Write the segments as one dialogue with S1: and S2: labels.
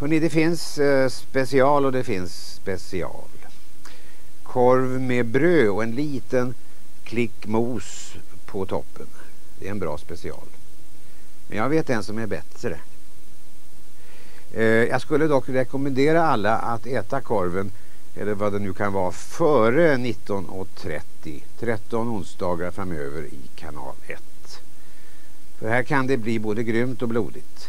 S1: Hörrni, det finns eh, special och det finns special. Korv med bröd och en liten klick mos på toppen. Det är en bra special. Men jag vet en som är bättre. Eh, jag skulle dock rekommendera alla att äta korven, eller vad det nu kan vara, före 19.30. 13 onsdagar framöver i kanal 1. För här kan det bli både grymt och blodigt.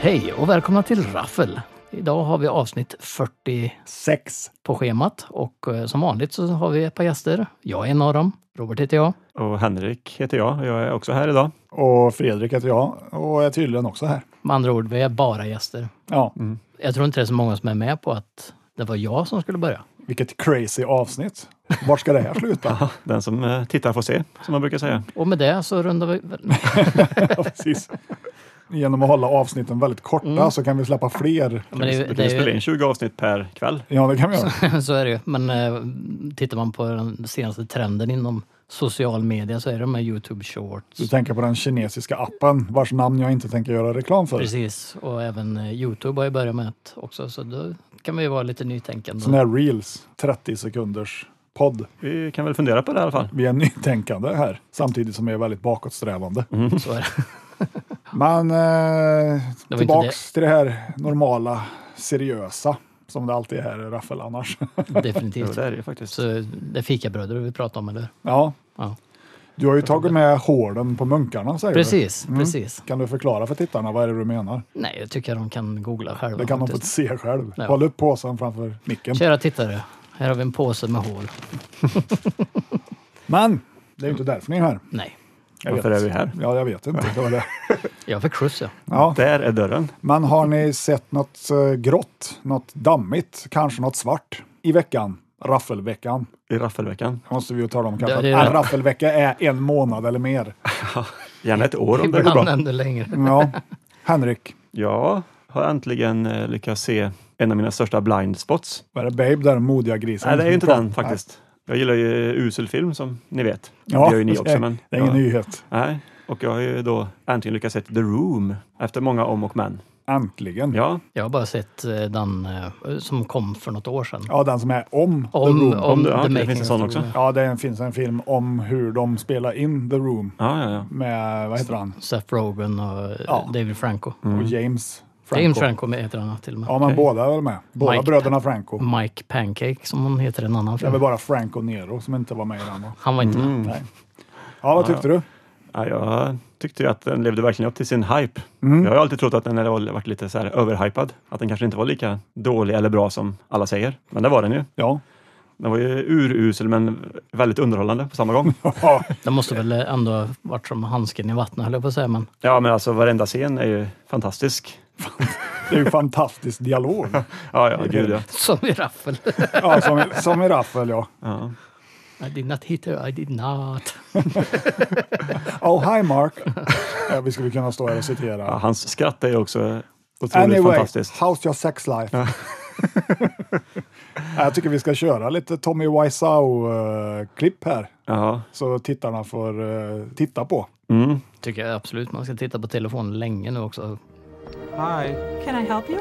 S2: Hej och välkomna till Raffel. Idag har vi avsnitt 40
S3: Sex.
S2: på schemat och eh, som vanligt så har vi ett par gäster. Jag är en av dem. Robert heter jag.
S4: Och Henrik heter jag och jag är också här idag.
S3: Och Fredrik heter jag och är tydligen också här.
S2: Med andra ord, vi är bara gäster.
S3: Ja,
S2: Jag tror inte det är så många som är med på att det var jag som skulle börja.
S3: vilket crazy avsnitt. Var ska det här sluta?
S4: Den som eh, tittar får se, som man brukar säga.
S2: Och med det så rundar vi...
S3: ja, precis. Genom att hålla avsnitten väldigt korta
S2: Mm.
S3: så kan vi släppa fler.
S2: Men det,
S4: Vi
S2: är- det,
S4: kan spela
S2: är
S4: in 20 avsnitt per kväll.
S3: Ja, det kan vi göra.
S2: ju- så är det ju. Men eh, tittar man på den senaste trenden inom social media så är det de här Youtube shorts.
S3: Du tänker på den kinesiska appen vars namn jag inte tänker göra reklam för.
S2: Precis. Och även eh, Youtube har ju börjat med det också. Så då kan vi ju vara lite nytänkande.
S3: Sådana här reels, 30 sekunders podd.
S4: Vi kan väl fundera på det i alla fall.
S3: Vi är nytänkande här, samtidigt som vi är väldigt bakåtsträvande.
S2: Så är det.
S3: Men eh,
S2: inte
S3: tillbaks till det här normala, seriösa som det alltid är här i Raffel annars.
S4: Jo,
S2: Definitivt.
S4: det är det ju faktiskt.
S2: Så det är fikabröder vi pratar om, eller
S3: Ja.
S2: Ja.
S3: Du har ju tagit med hålen på munkarna säger
S2: Precis,
S3: du. Mm.
S2: precis.
S3: Kan du förklara för tittarna vad är det du menar?
S2: Nej, jag tycker de kan googla själva.
S3: Det kan de få
S2: faktiskt.
S3: se själv.
S2: Ja.
S3: Håll upp påsen framför micken.
S2: Kära tittare, här har vi en påse med hål.
S3: Men det är ju inte därför ni är här.
S2: Nej,
S3: Jag
S4: Varför
S3: vet.
S4: är vi här?
S3: Ja, jag vet inte. Det var det.
S2: jag fick skjuts ja.
S3: Ja.
S4: Där är dörren.
S3: Men har ni sett något eh, grått, något dammigt, kanske något svart i veckan? Raffelveckan
S4: I raffelveckan.
S3: måste vi ju tala om kanske.
S2: det är
S3: att
S2: det.
S3: Raffelvecka är en månad eller mer.
S4: Gärna ett år om det går
S2: Ibland
S4: bra.
S2: ännu längre.
S3: Ja. Henrik,
S4: Jag har äntligen eh, lyckats se en av mina största blind spots.
S3: vad är det Babe där, modiga grisen?
S4: Nej, det är ju inte den faktiskt. Jag gillar ju usel film som ni vet.
S3: Ja,
S4: det gör ju ni också.
S3: eh,
S4: Men,
S3: Det är ingen
S4: ja.
S3: nyhet.
S4: Nej, och jag har ju då äntligen lyckats se The Room efter många om och men.
S3: Äntligen.
S4: Ja,
S2: Jag har bara sett eh, den eh, som kom för något år sedan.
S3: Ja, den som är om, The
S2: Om,
S3: Room.
S2: om
S4: det- ja, det finns en
S2: of
S4: sån
S2: Mm, the
S4: också.
S2: Room.
S3: Ja, det finns en film om hur de spelar in The Room
S4: ja, ja. ja.
S3: med, vad heter han,
S2: Seth Rogen och eh,
S3: Ja.
S2: David Franco.
S4: Mm,
S3: och James Franco.
S2: Mm. James Franco heter han till och med.
S3: Ja, men båda är väl med. Båda
S2: Mike. Mm.
S3: bröderna Franco.
S2: Mike Pancake som han heter i en annan
S3: Det är väl
S2: film.
S3: bara Franco Nero som inte var med i den. va?
S2: Han var inte
S4: Mm.
S2: med.
S3: Nej. Ja, vad tyckte du?
S4: Ja, jag tyckte ju att den levde verkligen upp till sin hype.
S3: Mm.
S4: Jag har ju alltid trott att den hade varit lite så här överhypad. Att den kanske inte var lika dålig eller bra som alla säger. Men det var den ju.
S3: Ja.
S4: Den var ju urusel men väldigt underhållande på samma gång.
S3: ja.
S2: Det måste väl eh, ändå ha varit som handsken i vattnet höll jag på att säga. Men
S4: Ja, men alltså varenda scen är ju fantastisk.
S3: Det är ju fantastisk dialog.
S4: Ja, ja, gud ja.
S2: som i Raffel.
S3: Ja, som, i- som i Raffel, ja.
S4: ja.
S2: I did not hit her, I did not.
S3: Oh, hi Mark. Ja, vi skulle kunna stå här och
S4: ja
S3: citera.
S4: hans skratt är ju också otroligt
S3: Anyway,
S4: fantastiskt.
S3: how's your sex life? Ja, Jag tycker vi ska köra lite Tommy Wiseau-klipp här.
S4: Ja.
S3: så tittarna får eh, titta på.
S4: Mm.
S2: Tycker jag absolut man ska titta på telefonen länge nu också.
S5: Hi.
S6: Can I help you?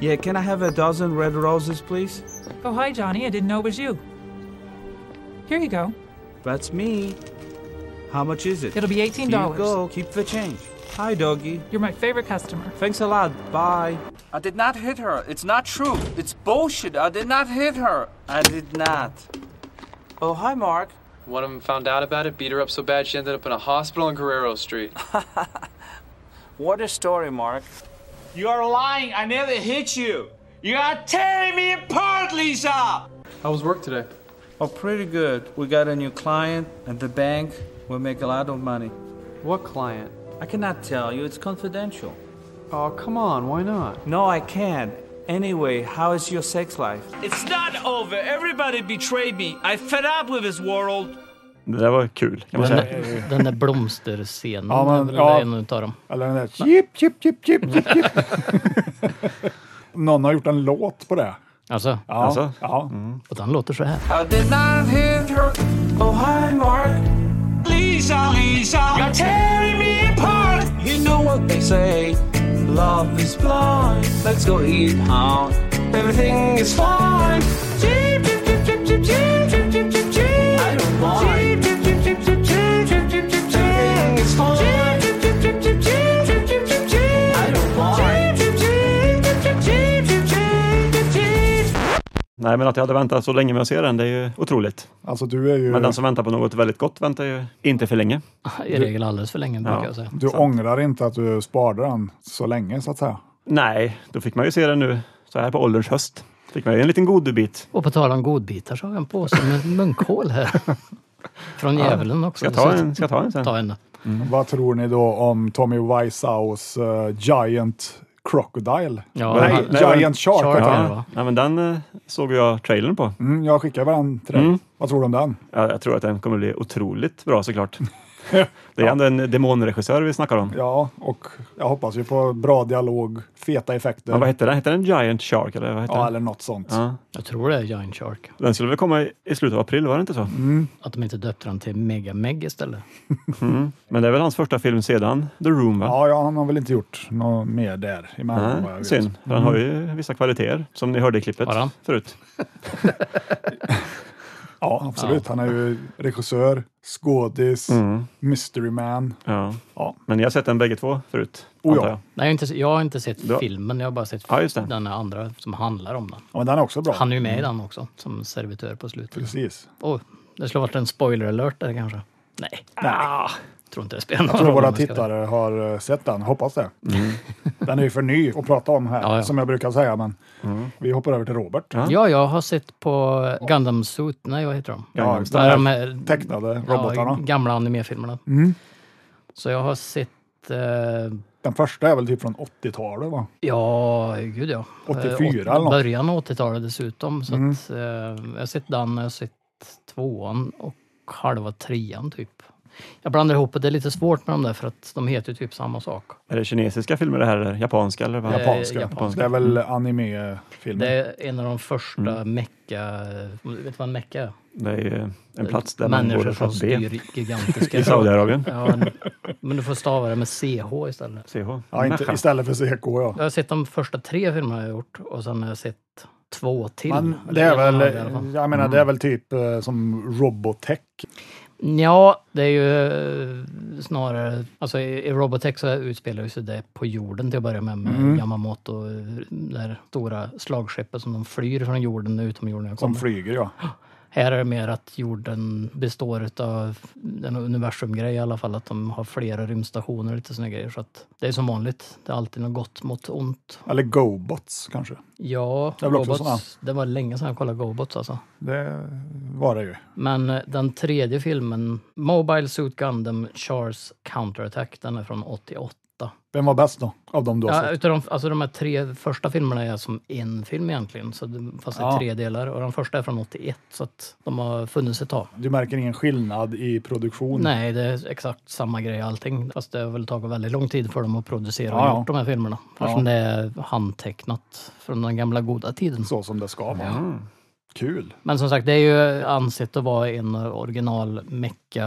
S5: Yeah, can I have a dozen red roses, please?
S6: Oh, hi, Johnny. I didn't know it was you. Here you go.
S5: That's me. How much is it?
S6: It'll be $18.
S5: Here you go. Keep the change. Hi, doggy.
S6: You're my favorite customer.
S5: Thanks a lot. Bye. I did not hit her. It's not true. It's bullshit. I did not hit her. I did not. Oh, hi, Mark.
S7: One of them found out about it, beat her up so bad she ended up in a hospital on Guerrero Street.
S5: What a story, Mark.
S8: You are lying. I never hit you. You are tearing me apart, Lisa.
S7: How was work today?
S5: Oh, pretty good. We got a new client at the bank. We'll make a lot of money.
S7: What client?
S5: I cannot tell you, it's confidential.
S7: Oh, come on, why not?
S5: No, I can't. Anyway, how is your sex life?
S8: It's not over. Everybody betrayed me. I fed up with this world.
S4: Det där var kul kan man
S2: Den
S4: säga.
S2: där, den där blomsterscenen
S3: Ja, men,
S2: är väl
S3: ja.
S2: en utav dem.
S3: Eller den där chip, chip, chip, chip, chip, chip. Någon har gjort en låt på det.
S2: Alltså,
S3: Ja,
S4: Alltså?
S3: ja.
S2: och den låter så här.
S5: I did not hit her. Oh, hi, Mark.
S8: Lisa, Lisa, you're tearing me apart.
S5: You know what they say. Love is blind. Let's go eat out. Everything is fine. Cheep, cheep, cheep, cheep, cheep, cheep, cheep, cheep, cheep, cheep. I don't mind. Cheep, cheep, cheep, cheep, cheep, cheep, cheep, cheep, cheep. Everything is fine. Cheep, cheep, cheep, cheep, cheep, cheep, cheep, cheep, cheep. I don't mind. Cheep, cheep, cheep, cheep, cheep, cheep, cheep, cheep, cheep, cheep.
S4: Nej, men att jag hade väntat så länge med att se den, det är ju otroligt.
S3: Alltså du är ju...
S4: Men den som väntar på något väldigt gott väntar ju inte för länge.
S2: I regel alldeles för länge brukar jag säga.
S3: Du ångrar inte att du sparade den så länge så att säga.
S4: Nej, då fick man ju se den nu så här på ålderns höst. Fick man ju en liten godbit.
S2: Och på tal om godbitar så har jag en påse med munkhål här. Från djävulen också.
S4: Ska jag ta en, ska jag ta en sen?
S2: Ta en.
S4: Mm.
S3: Vad tror ni då om Tommy Wiseaus eh, Giant Crocodile?
S2: Ja,
S3: nej,
S4: nej, nej,
S3: Giant
S4: men-
S3: Shark.
S2: Shark,
S3: heter
S2: ja.
S3: den.
S4: Ja, nej, men den eh, såg jag trailern på.
S3: Mm, jag skickar den till dig.
S4: Mm.
S3: Vad tror du om den?
S4: Jag, jag tror att den kommer bli otroligt bra såklart. Det är ändå en demonregissör vi snackar om.
S3: Ja, och jag hoppas ju på bra dialog, feta effekter.
S4: Men vad hette den? Hette den Giant Shark eller vad hette
S3: ja,
S4: den?
S3: eller något sånt.
S4: Ja.
S2: Jag tror det är Giant Shark.
S4: Den skulle väl komma i- i slutet av april, var det inte så?
S3: Mm.
S2: Att de inte döpte den till Mega Meg istället.
S4: Men det är väl hans första film sedan The Room, va?
S3: Ja, ja, han har väl inte gjort något mer där emellan vad jag
S4: Nej,
S3: vet. Mm.
S4: synd. för Han har ju vissa kvaliteter, som ni hörde i klippet
S2: Har han?
S4: förut.
S3: Ja, absolut. Han är ju regissör, skådis,
S4: Mm.
S3: mystery man.
S4: Ja.
S3: Ja.
S4: Men ni har sett den bägge två förut?
S3: Oh,
S4: antar
S3: ja.
S4: jag.
S2: Nej, jag, har inte, se- jag har inte sett
S4: Du-
S2: filmen, jag har bara sett
S4: Ja, just det. Mm.
S2: den här andra som handlar om den.
S3: Ja, men den är också bra.
S2: Han är ju med i den också, som servitör på slutet.
S3: Precis.
S2: Oh, det skulle ha varit en spoiler alert där kanske. Nej,
S3: Nej,
S2: tror inte det spelar någon
S3: jag tror
S2: roll
S3: våra
S2: om jag ska-
S3: tittare har eh, sett den, hoppas det.
S4: Mm.
S3: Den är ju för ny att prata om här,
S2: Ja, ja.
S3: som jag brukar säga, men
S4: Mm.
S3: vi hoppar över till Robert.
S2: Ja, jag har sett på Gundam Suit, nej vad heter de?
S3: Ja,
S4: Gangnam
S3: den
S2: Nej,
S3: här
S2: de här
S3: tecknade
S2: ja,
S3: robotarna. Mm.
S2: gamla animefilmerna. Så jag har sett, eh,
S3: Den första är väl typ från 80-talet, va?
S2: ja gud ja.
S3: 84
S2: Eh, åt-
S3: eller något. Mm.
S2: Början av 80-talet dessutom. Så att, eh, jag har sett den, jag har sett tvåan och halva trean typ. Jag blandar ihop det, det är lite svårt med de där för att de heter ju typ samma sak.
S4: Är det kinesiska filmer det här, eller japanska? Eller vad?
S2: Japan.
S3: Japanska.
S2: Eh, japanska. Mm.
S3: Det är väl animefilmer.
S2: Det är en av de första
S3: Mm.
S2: mecka... Vet du vad en mecka är?
S4: Det är ju en plats där man
S2: Eh, Människor
S4: går för
S2: som
S4: att be.
S2: styr gigantiska...
S4: I Saudiarabien.
S2: Ja, men- men du får stava det med CH istället.
S4: CH.
S3: Ja, inte,
S4: Naha.
S3: istället för CK, ja.
S2: Jag har sett de första tre filmerna jag har gjort och sen har jag sett två till.
S3: Men det
S2: Eller
S3: är
S2: en av dem
S3: väl,
S2: i alla fall.
S3: jag menar, det är väl typ eh, som Robotech.
S2: Ja, det är ju eh, snarare... Alltså i i Robotech så utspelar ju sig det på jorden till att börja med, med
S3: Mm.
S2: Yamamoto. eh, Det här stora slagskeppet som de flyr från jorden, utomjordingar
S3: Som
S2: kommer.
S3: flyger, ja.
S2: Här är det mer att jorden består av en universumgrej i alla fall, att de har flera rymdstationer och lite såna grejer. Så att det är som vanligt, det är alltid något gott mot ont.
S3: Eller GoBots kanske.
S2: Ja,
S3: Det är väl också såna.
S2: Gobots, det var länge sedan jag kollade Gobots alltså.
S3: Det var det ju.
S2: Men eh, den tredje filmen, Mobile Suit Gundam Charles Counterattack, den är från 88.
S3: Vem var bäst då, av dem du har
S2: Ja,
S3: sett?
S2: utav de, alltså de här tre första filmerna är som en film egentligen, så det, fast
S3: Ja.
S2: i tre delar. Och den första är från 81, så att de har funnits ett tag.
S3: Du märker ingen skillnad i produktion?
S2: Nej, det är exakt samma grej allting. Fast det har väl tagit väldigt lång tid för dem att producera
S3: Ja, ja.
S2: och gjort de här filmerna. Eftersom det är handtecknat från den gamla goda tiden.
S3: Så som det ska vara. Kul.
S2: Men som sagt, det är ju ansett att vara en av original mecka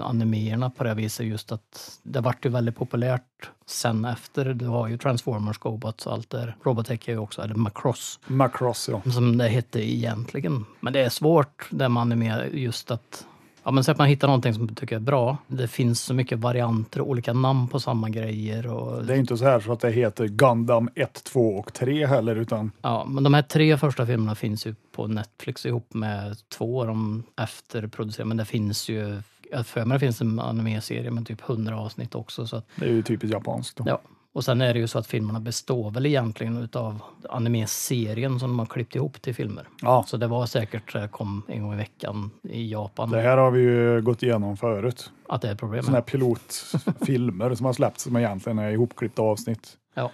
S2: animerna på det här viset. Just att det vart ju väldigt populärt sen efter. Du har ju Transformers, Gobots och allt där. Robotech är ju också, eller Macross
S3: Macross, ja.
S2: som det hette egentligen. Men det är svårt det man är med just att Ja, men så att man hittar någonting som man tycker är bra. Det finns så mycket varianter och olika namn på samma grejer. Och,
S3: Det är inte så här så att det heter Gundam 1, 2 och 3 heller, utan
S2: ja, men de här tre första filmerna finns ju på Netflix ihop med två av de efterproducerade. Men det finns ju, jag för mig det finns en anime-serie med typ 100 avsnitt också. Så att,
S3: det är ju typiskt japanskt. Då.
S2: ja. Och sen är det ju så att filmerna består väl egentligen utav anime-serien som de har klippt ihop till filmer.
S3: Ja.
S2: Så det var säkert, eh, kom en gång i veckan i Japan,
S3: Det här har vi ju gått igenom förut.
S2: att det är problemet.
S3: Sådana här pilotfilmer som har släppts som egentligen är ihopklippta avsnitt
S2: Ja.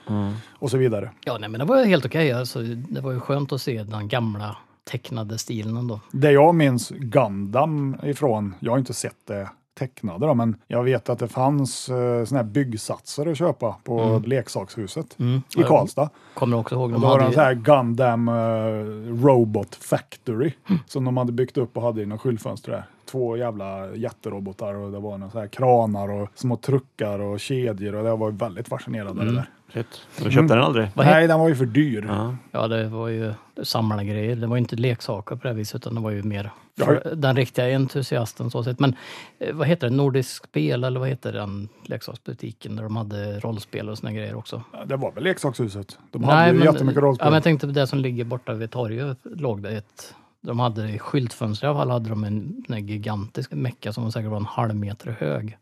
S3: och så vidare.
S2: Ja, nej, men det var ju helt okej. Alltså, det var ju skönt att se den gamla tecknade stilen ändå.
S3: Det jag minns Gundam ifrån, jag har inte sett det tecknade då, men jag vet att det fanns eh, såna här byggsatser att köpa på
S2: Mm.
S3: leksakshuset i Karlstad.
S2: Kommer också ihåg,
S3: Och
S2: de
S3: då var det en
S2: hade
S3: sån
S2: ju,
S3: här Gundam eh, Robot Factory som de hade byggt upp och hade i något skyltfönster där. Två jävla jätterobotar och det var några så här kranar och små truckar och kedjor och jag var väldigt fascinerad av
S2: Mm.
S3: det där.
S4: Shit. Du
S3: Mm.
S4: köpte den aldrig?
S2: Vad
S3: Nej, den var ju för dyr.
S4: Ja.
S2: ja, det var ju samlargrejer. grejer. Det var ju inte leksaker på det här viset, utan det var ju mer
S3: Ja.
S2: för den riktiga entusiasten. Så sett. Men eh, vad heter det, Nordisk Spel eller vad heter den leksaksbutiken där de hade rollspel och såna grejer också?
S3: Det var väl leksakshuset? De hade ju jättemycket rollspel.
S2: Ja, men jag tänkte på det som ligger borta vid torget. Låg det ett, de hade i skyltfönster i alla fall hade de en, en gigantisk mecka som säkert var en halv meter hög.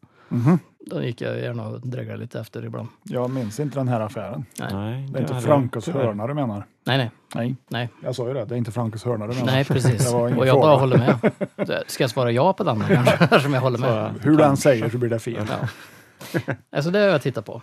S2: Den gick jag gärna och dreglade lite efter ibland.
S3: Mhm. Jag minns inte den här affären.
S4: Nej,
S3: Det är inte
S4: hade
S3: Frankos
S4: jag.
S3: hörna du menar?
S2: Nej, nej,
S3: Nej,
S2: nej.
S3: jag sa ju det. Det är inte Frankos hörna du menar.
S2: Nej, precis.
S3: Det var ingen
S2: Och jag
S3: fråga.
S2: bara håller med. Så, Ska jag svara ja på den då kanske, som jag håller med?
S3: Hur den säger så blir det fel.
S2: Ja. Alltså det har jag tittat på.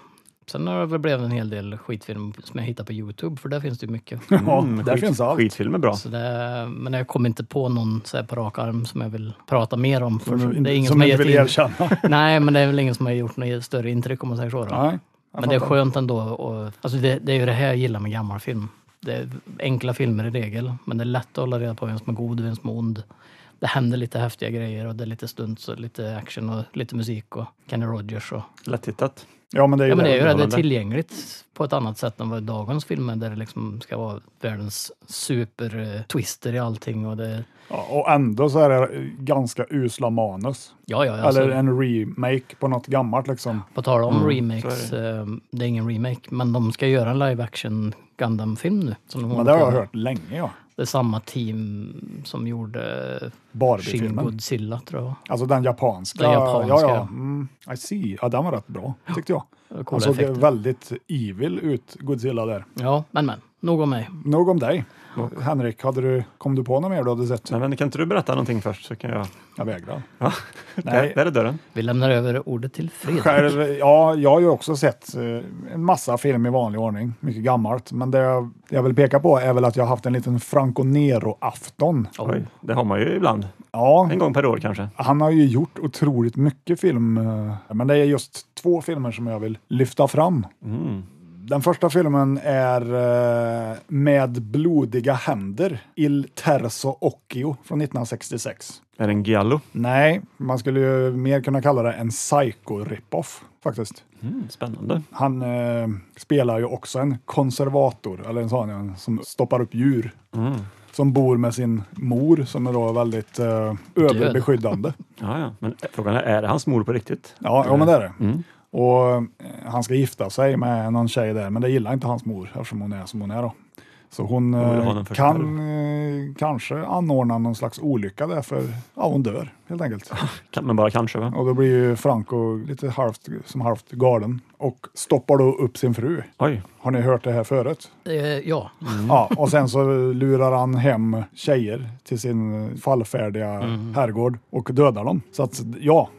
S2: Sen har det väl blivit en hel del skitfilm som jag hittar på Youtube, för där finns det ju mycket.
S3: Ja, där
S4: Mm, skit,
S3: finns allt.
S4: Skitfilm är bra.
S2: Så det, men jag kommer inte på någon så här på rak arm som jag vill prata mer om. För
S3: Som,
S2: det är ingen
S3: som
S2: som har
S3: inte vill
S2: gett in,
S3: erkänna.
S2: Nej, men det är väl ingen som har gjort något större intryck om man säger så. Då.
S3: Nej, jag
S2: men det är
S3: fattar.
S2: skönt ändå. Och, alltså det, det är ju det här jag gillar med gammal film. Det är enkla filmer i regel, men det är lätt att hålla reda på vem som är god och vem som är ond. Det händer lite häftiga grejer och det är lite stunts och lite action och lite musik och Kenny Rogers. Och,
S4: Lättittat.
S3: Ja, men det är ju
S2: ja, men det är ju det. Det är
S4: underhållande.
S2: tillgängligt på ett annat sätt än vad dagens filmer där det liksom ska vara världens super-twister i allting. Och det,
S3: Ja, och ändå så är det ganska usla manus.
S2: ja, ja, alltså,
S3: Eller en remake på något gammalt liksom.
S2: På tal om remakes,
S4: så
S2: eh, det är ingen remake, men de ska göra en live action Gundam-film nu. Som de
S3: Men
S2: håller
S3: det har
S2: på
S3: jag
S2: med.
S3: hört länge, ja.
S2: Det är samma team som gjorde Shin
S3: Barbie-filmen.
S2: Godzilla, tror jag.
S3: Alltså den japanska.
S2: Den japanska,
S3: ja, ja.
S2: ja.
S3: Mm, I see. Ja, den var rätt bra, tyckte jag.
S2: Det var
S3: Han
S2: Coola
S3: såg
S2: effekter.
S3: väldigt evil ut, Godzilla där.
S2: Ja, men men. Nog om mig.
S3: Nog om dig. Henrik, hade du, kom du på något mer du hade sett?
S4: Nej, men kan inte du berätta någonting först så kan jag...
S3: Jag vägrar.
S4: Ja.
S3: Nej.
S4: Där, där är dörren.
S2: Vi lämnar över ordet till Fredrik.
S3: Själv, ja, jag har ju också sett eh, en massa film i vanlig ordning, mycket gammalt. Men det jag, det jag vill peka på är väl att jag har haft en liten Franco Nero-afton.
S2: Oh.
S4: Oj, det har man ju ibland.
S3: Ja,
S4: En gång per år kanske.
S3: han har ju gjort otroligt mycket film, eh, men det är just två filmer som jag vill lyfta fram.
S4: Mm.
S3: Den första filmen är eh, Med blodiga händer, Il Terzo Occhio från 1966.
S4: Är det en giallo?
S3: Nej, man skulle ju mer kunna kalla det en psycho-rip-off faktiskt.
S4: Mm, spännande.
S3: Han eh, spelar ju också en konservator, eller en sån en som stoppar upp djur.
S4: Mm.
S3: Som bor med sin mor som är då väldigt eh, överbeskyddande.
S4: Ja, ja. Men eh, frågan är, är det hans mor på riktigt?
S3: Ja, ja men det är det.
S4: Mm.
S3: Och eh, han ska gifta sig med någon tjej där, men det gillar inte hans mor eftersom hon är som hon är då. Så hon
S4: Hon vill ha
S3: eh,
S4: den för sig
S3: kan eh, kanske anordna någon slags olycka där för ja, hon dör helt enkelt.
S4: Kan, men bara kanske, va?
S3: Och då blir ju Franco lite halvt, som halvt galen och stoppar då upp sin fru.
S4: Oj.
S3: Har ni hört det här förut?
S2: Eh, ja,
S3: Ja, och sen så lurar han hem tjejer till sin fallfärdiga
S2: Mm.
S3: herrgård och dödar dem. Så att ja,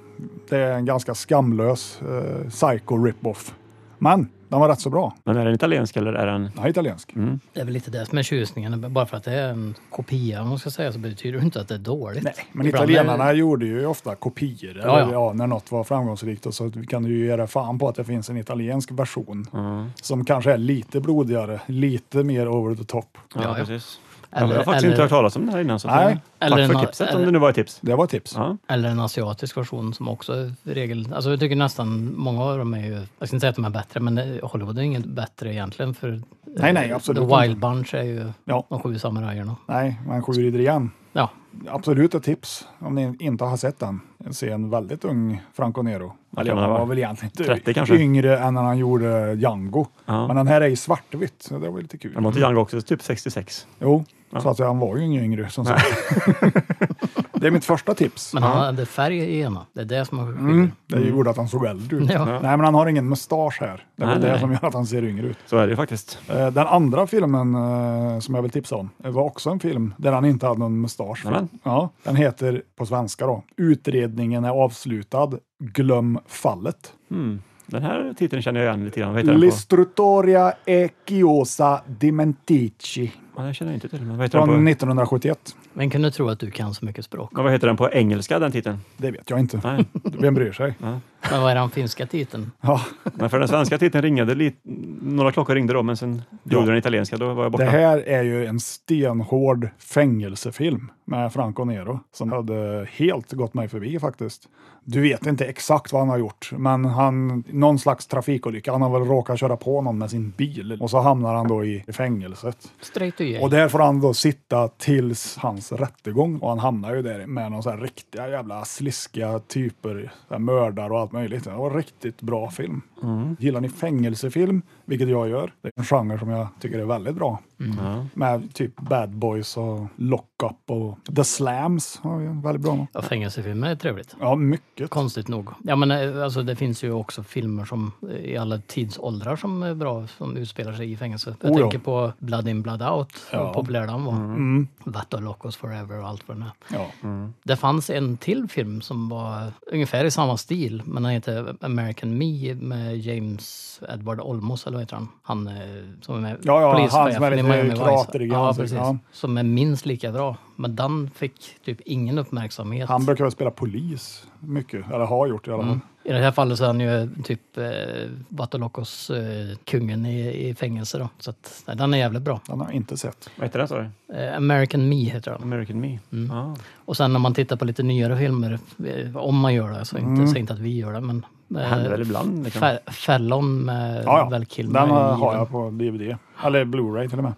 S3: det är en ganska skamlös eh, psycho rip-off. Men den var rätt så bra.
S4: Men är den italiensk eller är den...
S3: Den är italiensk.
S2: det är väl lite det som är tjusningen. Bara för att det är en kopia, om man ska säga, så betyder det inte att det är dåligt.
S3: Nej, men
S2: Ibland är-
S3: italienarna gjorde ju ofta kopior. Eller,
S2: Ja,
S3: ja,
S2: ja.
S3: när något var framgångsrikt och så kan du ju göra fan på att det finns en italiensk version
S2: Mm.
S3: som kanske är lite blodigare, lite mer over the top.
S4: Ja,
S2: ja.
S4: precis.
S2: Eller-
S4: jag har faktiskt inte
S2: eller-
S4: hört talas om den här innan. Så
S3: Nej.
S4: Nej. Tack
S2: Eller
S4: för
S2: en-
S4: tipset, om
S2: eller-
S4: det nu var ett tips.
S3: Det var ett tips.
S4: Ja.
S2: Eller en asiatisk version som också är regel... Alltså jag tycker nästan många av dem är ju... Jag ska inte säga att de är bättre, men eh, Hollywood är inget bättre egentligen för... eh,
S3: Nej, nej, absolut
S2: The Wild Bunch är ju
S3: Ja.
S2: de sju samurajerna.
S3: Nej, men sju rider igen.
S2: Ja,
S3: Absolut ett tips om ni inte har sett den. Se en väldigt ung Franco Nero. Eller
S4: kan
S3: han
S4: vara
S3: var väl egentligen inte
S4: 30 kanske.
S3: yngre än när han gjorde Django.
S4: Ja.
S3: Men den här är i svartvitt, så det var lite kul.
S4: Men Monty Young var också typ 66.
S3: Jo, så att han var ju ingen yngre som sagt. det är mitt första tips.
S2: men han hade färg i ena. Det är det som har
S3: Mm, det gjorde att han såg äldre ut.
S2: Ja.
S3: Nej, men han har ingen mustasch här. Det är
S4: Nej,
S3: väl det
S4: nej.
S3: som gör att han ser yngre ut.
S4: Så är det ju faktiskt.
S3: Eh, Den andra filmen eh, som jag vill tipsa om eh, var också en film där han inte hade någon mustasch.
S4: Nämen.
S3: Ja, den heter på svenska då Utredningen är avslutad. Glöm fallet.
S4: Mm. Den här titeln känner jag igen lite grann. Vad heter den på?
S3: Listrutoria e chiosa dimentici
S4: Ja, den känner jag inte till. Men vad, heter den
S3: från
S4: på?
S3: 1971.
S2: Men kan du tro att du kan så mycket språk?
S4: Ja, vad heter den på engelska, den titeln?
S3: Det vet jag inte.
S4: Nej.
S3: Vem bryr sig?
S2: Men vad är den finska titeln?
S3: Ja,
S4: Men för den svenska titeln ringade lite, några klockor ringde då, men sen gjorde den italienska, då var jag borta.
S3: det här är ju en stenhård fängelsefilm med Franco Nero som hade helt gått mig förbi faktiskt. Du vet inte exakt vad han har gjort, men han, någon slags trafikolycka. Han har väl råkat köra på någon med sin bil och så hamnar han då i fängelset.
S2: Straight to
S3: Och
S2: jail.
S3: där får han då sitta tills hans rättegång och han hamnar ju där med någon så här riktiga jävla sliskiga typer, så här mördare och allt möjligt. Det var en riktigt bra film. Gillar ni fängelsefilm, vilket jag gör, det är en genre som jag tycker är väldigt bra. Med typ Bad Boys och Lock Up och The Slams har vi en väldigt bra.
S2: Ja, fängelsefilmer är trevligt.
S3: Ja, mycket.
S2: Konstigt nog. Ja, men eh, alltså, det finns ju också filmer som eh, i alla tidsåldrar som är bra, som utspelar sig i fängelse. Jag
S3: Oh ja.
S2: tänker på Blood in, Blood out, hur
S3: Ja.
S2: populär den var. Mm. Vato Locos Forever och allt vad den är.
S3: Ja.
S2: Det fanns en till film som var ungefär i samma stil, men den heter American Me med James Edward Olmos, eller vad heter han? Han eh, som är med,
S3: Ja, ja, han som är
S2: polischefen i
S3: lite
S2: Miami Vice.
S3: kraterig i
S2: Ja,
S3: ansiktet,
S2: precis.
S3: ja.
S2: Som är minst lika bra. Men den fick typ ingen uppmärksamhet. Mm.
S3: Han brukar väl spela polis mycket, eller har gjort i alla fall.
S2: I det här fallet så är han ju typ eh, Vatolokos, eh, kungen i, i fängelse då. Så att, nej, den är jävligt bra.
S3: Den har jag inte sett.
S4: Vad heter den, sa du?
S2: Eh, American Me heter den.
S4: American Me?
S3: Mm.
S4: Ja.
S2: Och sen när man tittar på lite nyare filmer, eh, om man gör det, så inte,
S3: Mm.
S2: säg inte att vi gör det, men...
S4: Det
S2: eh,
S4: händer väl ibland. Liksom.
S2: Fe- Fällon med
S3: Ja, ja.
S2: Val
S3: Den
S2: Kilmer.
S3: har
S2: i
S3: har jag
S2: den.
S3: på DVD, eller Blu-ray till och med.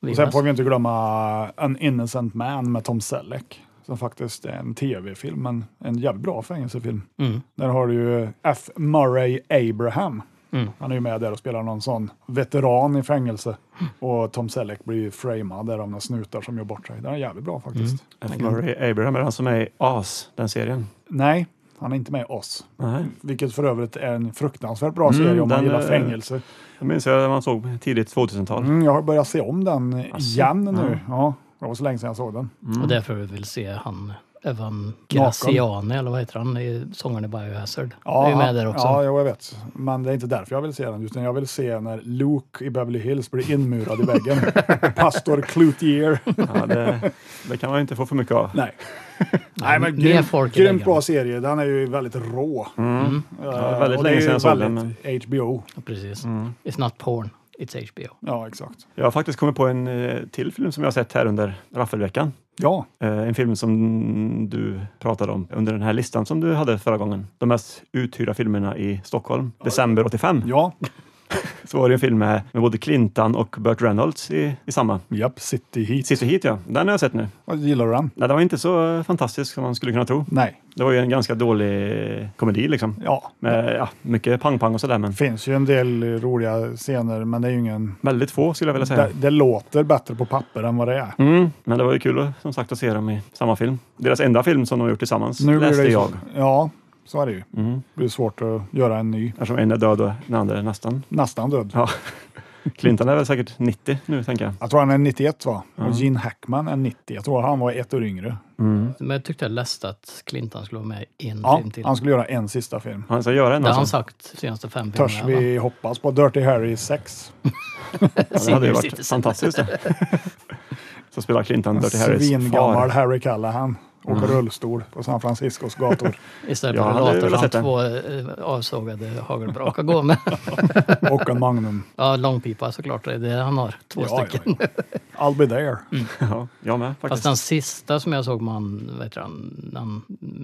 S3: Och sen
S2: Vivas.
S3: får vi inte glömma An Innocent Man med Tom Selleck som faktiskt är en tv-film, men en jävligt bra fängelsefilm.
S2: Mm.
S3: Där har du ju F. Murray Abraham.
S4: Mm.
S3: Han är ju med där och spelar någon sån veteran i fängelse. Och Tom Selleck blir ju framad där av några snutar som gör bort sig. Den är jävligt bra faktiskt.
S4: F. Murray Abraham är han som är i As, den serien.
S3: Nej, han är inte med i oss.
S4: Nej.
S3: Vilket för övrigt är en fruktansvärt bra serie om man
S4: Mm, den
S3: gillar
S4: är-
S3: fängelse.
S4: Det minns jag man såg tidigt 2000-tal.
S3: Mm, jag har börjat se om den igen nu. Ja, det var så länge sedan jag såg den.
S4: Mm.
S2: Och därför vi vill se han Evan Graziani, eller vad heter han, i sångaren i Biohazard. Ja, är ju med där också.
S3: Ja, jo, jag vet. Men det är inte därför jag vill se den, utan jag vill se när Luke i Beverly Hills blir inmurad i väggen. Pastor Cloutier.
S4: Ja, det, det kan man ju inte få för mycket av.
S3: Nej. Nej, men
S2: mer
S3: grymt,
S2: folk i
S3: grymt
S2: väggarna.
S3: bra serie. Den är ju väldigt rå. Eh,
S4: är Mm. väldigt
S3: och
S4: länge
S3: ju
S4: sedan jag såg den,
S3: väldigt HBO.
S2: Precis.
S4: Mm.
S2: It's not porn, it's HBO.
S3: Ja, exakt.
S4: Jag har faktiskt kommit på en eh, till film som jag har sett här under raffelveckan.
S3: Ja,
S4: Eh, En film som du pratade om under den här listan som du hade förra gången. De mest uthyrda filmerna i Stockholm, december 85.
S3: ja.
S4: Så var det en film med, med både Clinton och Burt Reynolds i, i samma.
S3: Japp, City Heat.
S4: City Heat ja, den har jag sett nu.
S3: Vad Gillar du den?
S4: Nej, den var inte så eh, fantastisk som man skulle kunna tro.
S3: Nej.
S4: Det var ju en ganska dålig komedi liksom.
S3: Ja.
S4: Med ja, mycket pang-pang och sådär, men
S3: Det finns ju en del roliga scener, men det är ju ingen...
S4: väldigt få skulle jag vilja säga.
S3: Det, det låter bättre på papper än vad det är.
S4: Mm, men det var ju kul att- som sagt att se dem i samma film. Deras enda film som de har gjort tillsammans
S3: blir
S4: läste
S3: det ju-
S4: jag.
S3: Ja, så är det ju.
S4: Mm.
S3: Det blir svårt att göra en ny.
S4: Eftersom en är död och den andra är nästan.
S3: Nästan död.
S4: Ja. Clinton är väl säkert 90 nu tänker jag.
S3: Jag tror han är 91 va? Och Gene Hackman är 90. Jag tror han var ett år yngre. Mm.
S2: Men jag tyckte jag läste att Clinton skulle vara med i en
S3: Ja,
S2: film till.
S3: han skulle göra en sista film.
S4: Han ska göra en
S2: Det har han
S4: alltså.
S2: sagt senaste fem
S3: Törs
S2: filmerna.
S3: vi hoppas på Dirty Harry 6?
S4: Ja, det hade ju
S2: Senior
S4: varit
S2: Citizen.
S4: fantastiskt. det. Så spelar Clinton Dirty Harrys
S3: Svingammal
S4: far. Mm.
S3: Harry Callahan. Åker rullstol på San Franciscos gator.
S2: Istället
S4: Ja,
S2: för
S4: han hade
S2: later
S4: velat
S2: så har
S4: sett den.
S2: två eh, avsågade hagelbrak att gå med.
S3: Och en Magnum.
S2: Ja, långpipa såklart, det är det han har. Två stycken. Mm.
S3: Ja, ja, ja. I'll be there.
S4: Ja, jag med
S2: Fast
S4: faktiskt.
S2: den sista som jag såg med han, vad heter han, den,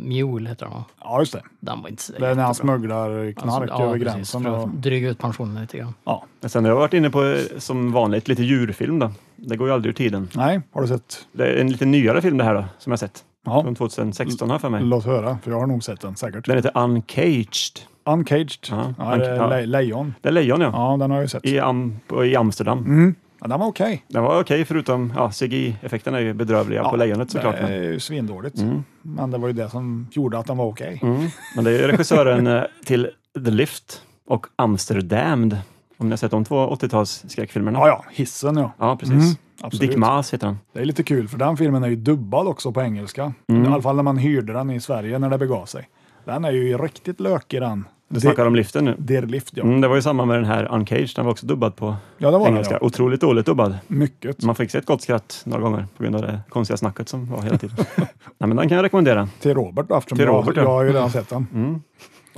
S2: Mule heter han va?
S3: Ja, just det.
S2: Den var inte så
S3: Det är när han smugglar knark
S2: Alltså, ja,
S3: över
S2: precis,
S3: gränsen.
S2: för att
S3: Och,
S2: Dryga ut pensionen lite grann.
S3: ja.
S4: Sen har jag varit inne på eh, som vanligt lite djurfilm då. Det går ju aldrig ur tiden.
S3: Nej, har du sett?
S4: Det är en lite nyare film det här då, som jag sett.
S3: Ja,
S4: Från 2016 har jag för mig.
S3: låt höra, för jag har nog sett den säkert.
S4: Den heter Uncaged.
S3: Uncaged.
S4: Ja,
S3: Ja,
S4: un-
S3: det är
S4: ja.
S3: le- lejon.
S4: Det är lejon ja.
S3: Ja, Mm. den har jag ju sett.
S4: I, Am- I Amsterdam.
S3: Ja, den var okej.
S4: Den var okej förutom ja, CGI-effekterna är ju bedrövliga på lejonet såklart.
S3: Det
S4: Men,
S3: är ju svindåligt. Men det var ju det som gjorde att den var okej.
S4: mm. men det är ju regissören eh, till The Lift och Amsterdam. Om ni har sett de två 80-tals skräckfilmerna.
S3: Ja, ja, hissen ja.
S4: Ja, precis.
S3: Absolut.
S4: Dick Maas heter han.
S3: Det är lite kul för den filmen är ju dubbad också på engelska.
S4: Mm.
S3: I alla fall när man hyrde den i Sverige när det begav sig. Den är ju riktigt lökig den.
S4: Du snackar om liften nu.
S3: Der Lift ja.
S4: Mm, det var ju samma med den här Uncaged. Den var också dubbad på
S3: Ja, det var den
S4: engelska. Mm.
S3: ja.
S4: Otroligt dåligt dubbad.
S3: Mycket.
S4: Man fick se ett gott skratt några gånger på grund av det konstiga snacket som var hela tiden. Nej, men den kan jag rekommendera.
S3: Till Robert då, eftersom
S4: Till
S3: jag,
S4: Robert, ja. Mm.
S3: jag har ju redan sett den.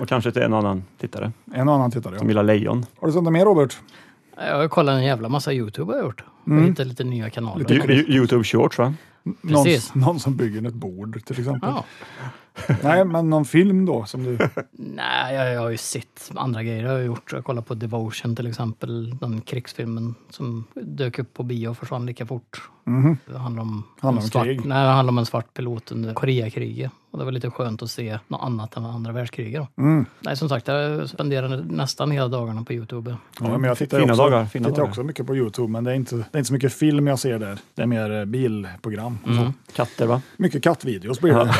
S4: Och kanske till en annan tittare
S3: En och annan tittare
S4: som
S3: ja.
S4: gillar lejon.
S3: Har du sett något mer Robert?
S2: Jag har kollat en jävla massa Youtube har jag gjort.
S3: Mm.
S2: Jag hittade lite nya kanaler.
S4: Ju- ju- Youtube Shorts va?
S3: Någon,
S2: Precis.
S3: någon som bygger ett bord till exempel.
S2: Ja.
S3: Nej, men någon film då som du...
S2: Nej, jag, jag har ju sett andra grejer. Jag har gjort, jag kollar på Devotion till exempel, den krigsfilmen som dök upp på bio och försvann lika fort. Det handlar om,
S3: Mhm. Handlar
S2: en
S3: om
S2: svart,
S3: krig.
S2: Nej, det handlar om en svart pilot under Koreakriget. Och det var lite skönt att se något annat än andra världskriget. Då.
S3: Mm.
S2: Nej, som sagt, jag spenderade nästan hela dagarna på Youtube.
S3: Ja, men jag tittar ju
S4: Fina
S3: också,
S4: dagar, fina
S3: tittar
S4: dagar.
S3: också mycket på Youtube, men det är, inte, det är inte så mycket film jag ser där. Det är mer eh, bilprogram. och
S4: Mm.
S3: så.
S4: Katter va?
S3: Mycket kattvideos blir det.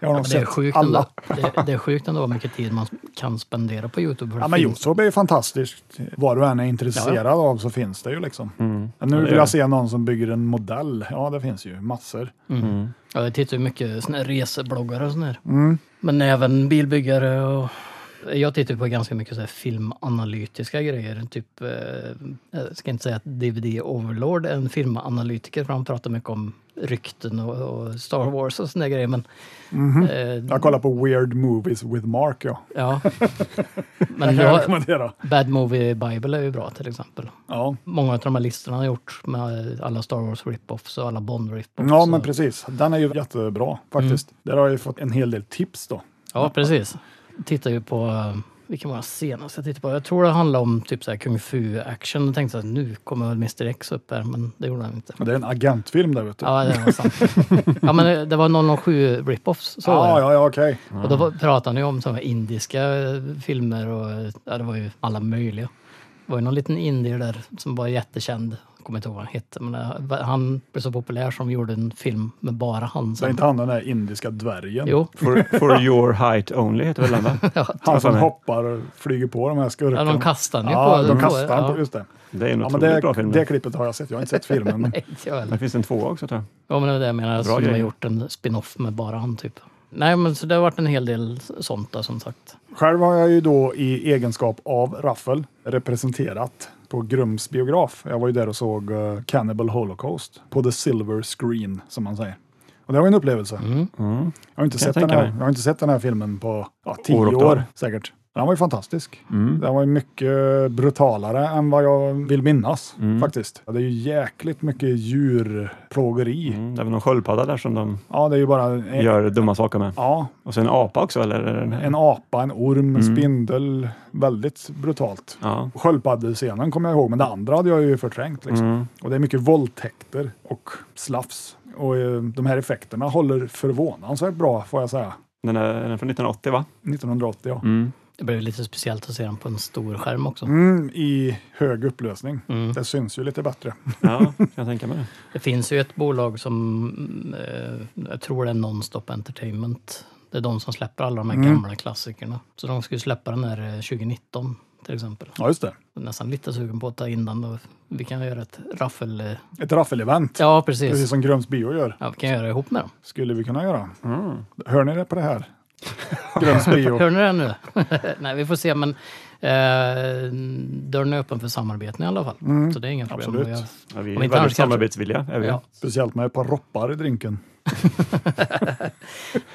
S3: jag har nog
S2: Det är,
S3: sett
S2: sjukt
S3: alla.
S2: ändå, det, det är sjukt ändå hur mycket tid man kan spendera på Youtube. för
S3: Ja,
S2: det
S3: men
S2: finns-
S3: Youtube är ju fantastiskt. Vad du än är intresserad av så finns det ju liksom. Men Nu
S4: Mm. Ja, det
S3: vill
S4: gör
S3: jag
S4: det.
S3: se någon som bygger en modell. Ja, det finns ju massor.
S2: Ja, jag tittar ju mycket såna här resebloggare och sådär.
S3: Mm.
S2: Men även bilbyggare och... Jag tittar ju på ganska mycket så här filmanalytiska grejer. Typ, eh, jag ska inte säga att DVD Overlord är en filmanalytiker för han pratar mycket om rykten och, och Star Wars och sådana grejer. Men, eh,
S3: Mhm. Jag kollar på Weird Movies with Mark, ja.
S2: ja.
S3: Det
S2: men
S3: kan jag
S2: jag,
S3: rekommendera.
S2: Bad Movie Bible är ju bra till exempel.
S3: Ja.
S2: Många av de här listorna har gjort med alla Star Wars rip-offs och alla Bond rip-offs.
S3: ja, men
S2: och-
S3: precis. Den är ju
S4: Mm.
S3: jättebra faktiskt. Där har jag ju fått en hel del tips då.
S2: Ja, precis. Tittar ju på, eh, vilken var den senaste jag tittade på? Jag tror det handlade om typ så här kung fu-action. Jag tänkte att nu kommer väl Mr X upp här, men det gjorde han inte.
S3: Det är en agentfilm där, vet du. Ja,
S2: Ja, det var sant. ja, men det- det var 007 rip-offs. Så var
S3: ja,
S2: det.
S3: ja, ja okej.
S2: Och då var- pratade han ju om så här indiska eh, filmer och eh, ja, det var ju alla möjliga. Det var ju någon liten indier där som var jättekänd. Jag kommer inte ihåg vad han hette, men eh, han blev så populär som gjorde en film med bara han.
S3: Det är
S2: sen.
S3: inte han den där indiska dvärgen.
S2: Jo,
S4: For, for your height only heter väl den va?
S3: Han som
S4: fan är-
S3: hoppar och flyger på de här skurkarna.
S2: ja, de kastar han ju
S3: Ja,
S2: på.
S3: de kastar
S2: ja.
S3: på, just det.
S4: Det är en
S3: Ja, men
S4: otroligt
S3: det,
S4: bra film.
S3: det
S4: Det,
S3: klippet har jag sett. Jag har inte sett filmen. Men
S2: Nej, inte jag heller.
S4: finns en tvåa också tror jag.
S2: Ja, men det är det jag menar. Som de har
S4: grejer.
S2: gjort en spin-off med bara han, typ. Nej, men så det har varit en hel del sånt där, som sagt.
S3: själv har jag ju då i egenskap av Raffel representerat på Grums biograf. Jag var ju där och såg eh, Cannibal Holocaust på the silver screen, som man säger. Och det var ju en upplevelse. Mm. Jag, har inte
S4: Mm. Kan jag
S3: sett den
S4: tänka
S3: här,
S4: mig.
S3: jag har inte sett den här filmen på ja, tio
S4: År Mm. och
S3: år,
S4: dag.
S3: säkert. Den var ju fantastisk. Den var ju mycket brutalare än vad jag vill minnas
S4: Mm.
S3: faktiskt. Det är ju jäkligt mycket djurplågeri.
S4: Mm, det är väl någon sköldpadda där som de
S3: Ja, det är ju bara... eh,
S4: gör dumma saker med.
S3: Ja,
S4: Och så en apa också eller?
S3: en apa, en orm, en
S4: Mm.
S3: spindel. Väldigt brutalt.
S4: Ja.
S3: Sköldpaddescenen kommer jag ihåg, men det andra hade jag ju förträngt.
S4: Mm.
S3: Liksom. Och det är mycket våldtäkter och slafs. Och eh, de här effekterna håller förvånansvärt bra, får jag säga.
S4: Den är, den är från 1980 va?
S3: 1980, ja.
S4: Mm.
S2: Det blev lite speciellt att se den på en stor skärm också.
S3: Mm, I hög upplösning. Det syns ju lite bättre.
S4: Ja, kan jag tänka mig det.
S2: Det finns ju ett bolag som, mm, eh, jag tror det är Nonstop Entertainment. Det är de som släpper alla de här gamla klassikerna. Så de skulle släppa den här eh, 2019 till exempel.
S3: Ja, just det.
S2: Jag är Nästan lite sugen på att ta in den. Och vi kan göra ett raffel... eh,
S3: Ett raffelevent,
S2: Ja, precis.
S3: precis som Gröms Bio gör,
S2: Ja, vi kan göra det ihop med dem.
S3: skulle vi kunna göra. Hör ni det på det här? Gröms Bio.
S2: Hör ni det nu? Nej, vi får se, men eh, dörren är öppen för samarbeten i alla fall. Så det är inga problem.
S3: Absolut.
S2: Och jag-
S4: Ja, vi
S2: Om inte
S4: är
S2: annars
S4: väldigt
S2: kanske-
S4: samarbetsvilliga. Är vi.
S2: Ja.
S3: Speciellt med ett par roppar i drinken.